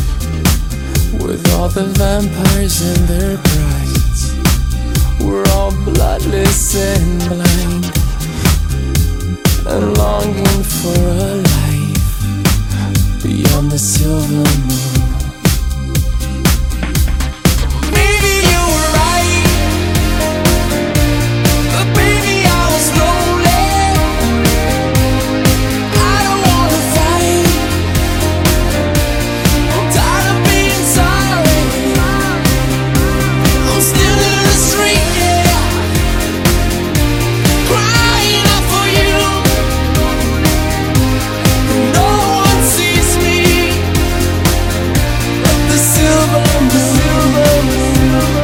S11: with all the vampires and their brides. We're all bloodless and blind, and longing for a life beyond the silver moon.
S10: Maybe you were right, but maybe I was lonely. I don't wanna fight. I'm tired of being sorry. I'm still in the street, yeah, crying out for you. No one sees me, but the silver, the silver, silver.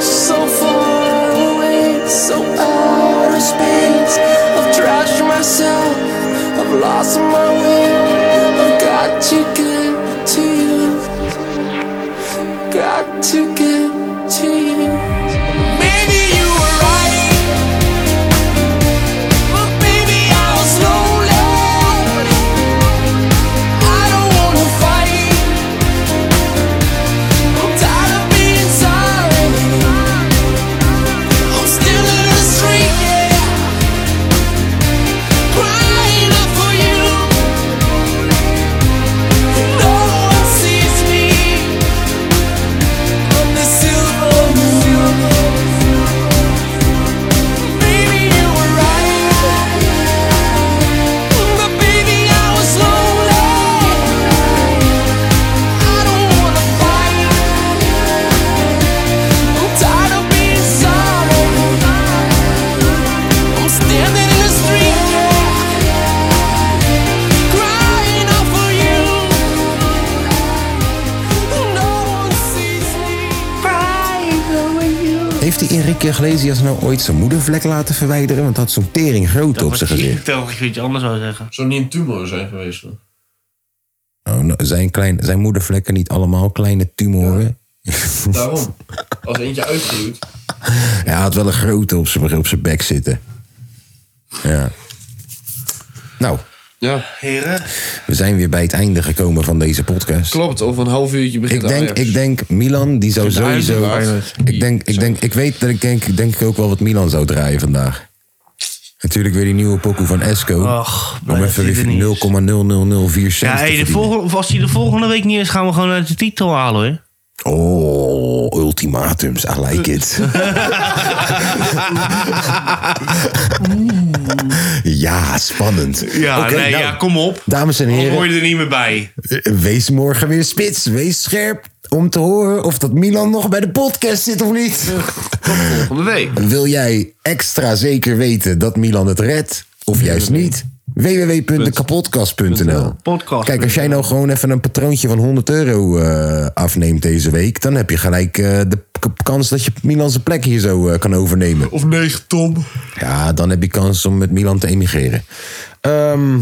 S11: So far away, so out of space. I've trashed myself, I've lost my way. I've got to get to you. Got to get to you.
S10: Maybe you were right, but maybe I was lonely. I don't wanna fight. I'm tired of being sorry. I'm still in the street, yeah, crying out for you. No one sees me. I'm the silver, silver. Maybe you were right, but baby I was lonely. I don't wanna fight. I'm tired of being sorry. I'm standing in the street, crying out for you. No one sees me crying over you.
S1: Heeft die Enrique Iglesias nou ooit zijn moedervlek laten verwijderen? Want dat had zo'n tering groot op zijn gezicht.
S2: Ik dacht dat je iets anders zou zeggen.
S4: Zou niet een tumor zijn geweest? dan?
S1: Oh, nou, zijn, klein, zijn moedervlekken niet allemaal kleine tumoren?
S4: Daarom. Als eentje uitgroeit.
S1: Ja, hij had wel een grote op zijn, op zijn bek zitten. Ja. Nou,
S4: Ja.
S2: Heren.
S1: we zijn weer bij het einde gekomen van deze podcast.
S4: Klopt, over een half uurtje begint
S1: Ik denk,
S4: Ajax.
S1: ik denk Milan, die zou
S4: De Ajax
S1: sowieso...
S4: en de Ajax.
S1: Ik, denk, ik, denk, ik weet dat ik denk, denk ik ook wel wat Milan zou draaien vandaag. Natuurlijk weer die nieuwe pokoe van Esco. Om
S2: blij
S1: even
S2: dat hij er niet
S1: weer 0,0004 cent
S2: Ja,
S1: te
S2: hey, de
S1: verdienen.
S2: volgende, als hij de volgende week niet is, gaan we gewoon uit de titel halen hoor.
S1: Oh, ultimatums, I like it. ja, spannend.
S2: Ja,
S1: Oké,
S2: nee,
S1: nou,
S2: ja, kom op.
S1: Dames en
S2: Dan hoor
S1: heren,
S2: je er niet meer bij.
S1: eh, wees morgen weer spits. Wees scherp om te horen of dat Milan nog bij de podcast zit of niet.
S4: Volgende week.
S1: Wil jij extra zeker weten dat Milan het redt? Of juist niet? www.dekapodcast.nl
S2: Podcast.
S1: Kijk, als jij nou gewoon even een patroontje van 100 euro eh, afneemt deze week... dan heb je gelijk eh, de k- kans dat je Milan zijn plek hier zo eh, kan overnemen.
S4: Of 9 ton.
S1: Ja, dan heb je kans om met Milan te emigreren. Ehm,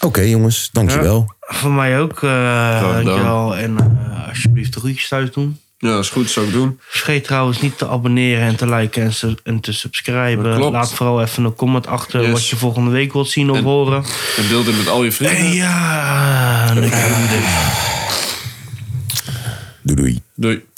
S1: Oké jongens, dankjewel.
S2: Voor mij ook. eh
S4: gedaan.
S2: dankjewel. En eh, alsjeblieft de groetjes thuis doen.
S4: Ja, is goed, zou ik doen.
S2: Vergeet trouwens niet te abonneren en te liken en, su- en te subscriben.
S4: Dat klopt.
S2: Laat vooral even een comment achter
S4: Yes.
S2: wat je volgende week wilt zien of horen. Eh,
S4: En deel dit met al je
S2: En
S4: vrienden.
S2: ja, dan kunnen we dit.
S1: Doei doei.
S4: Doei.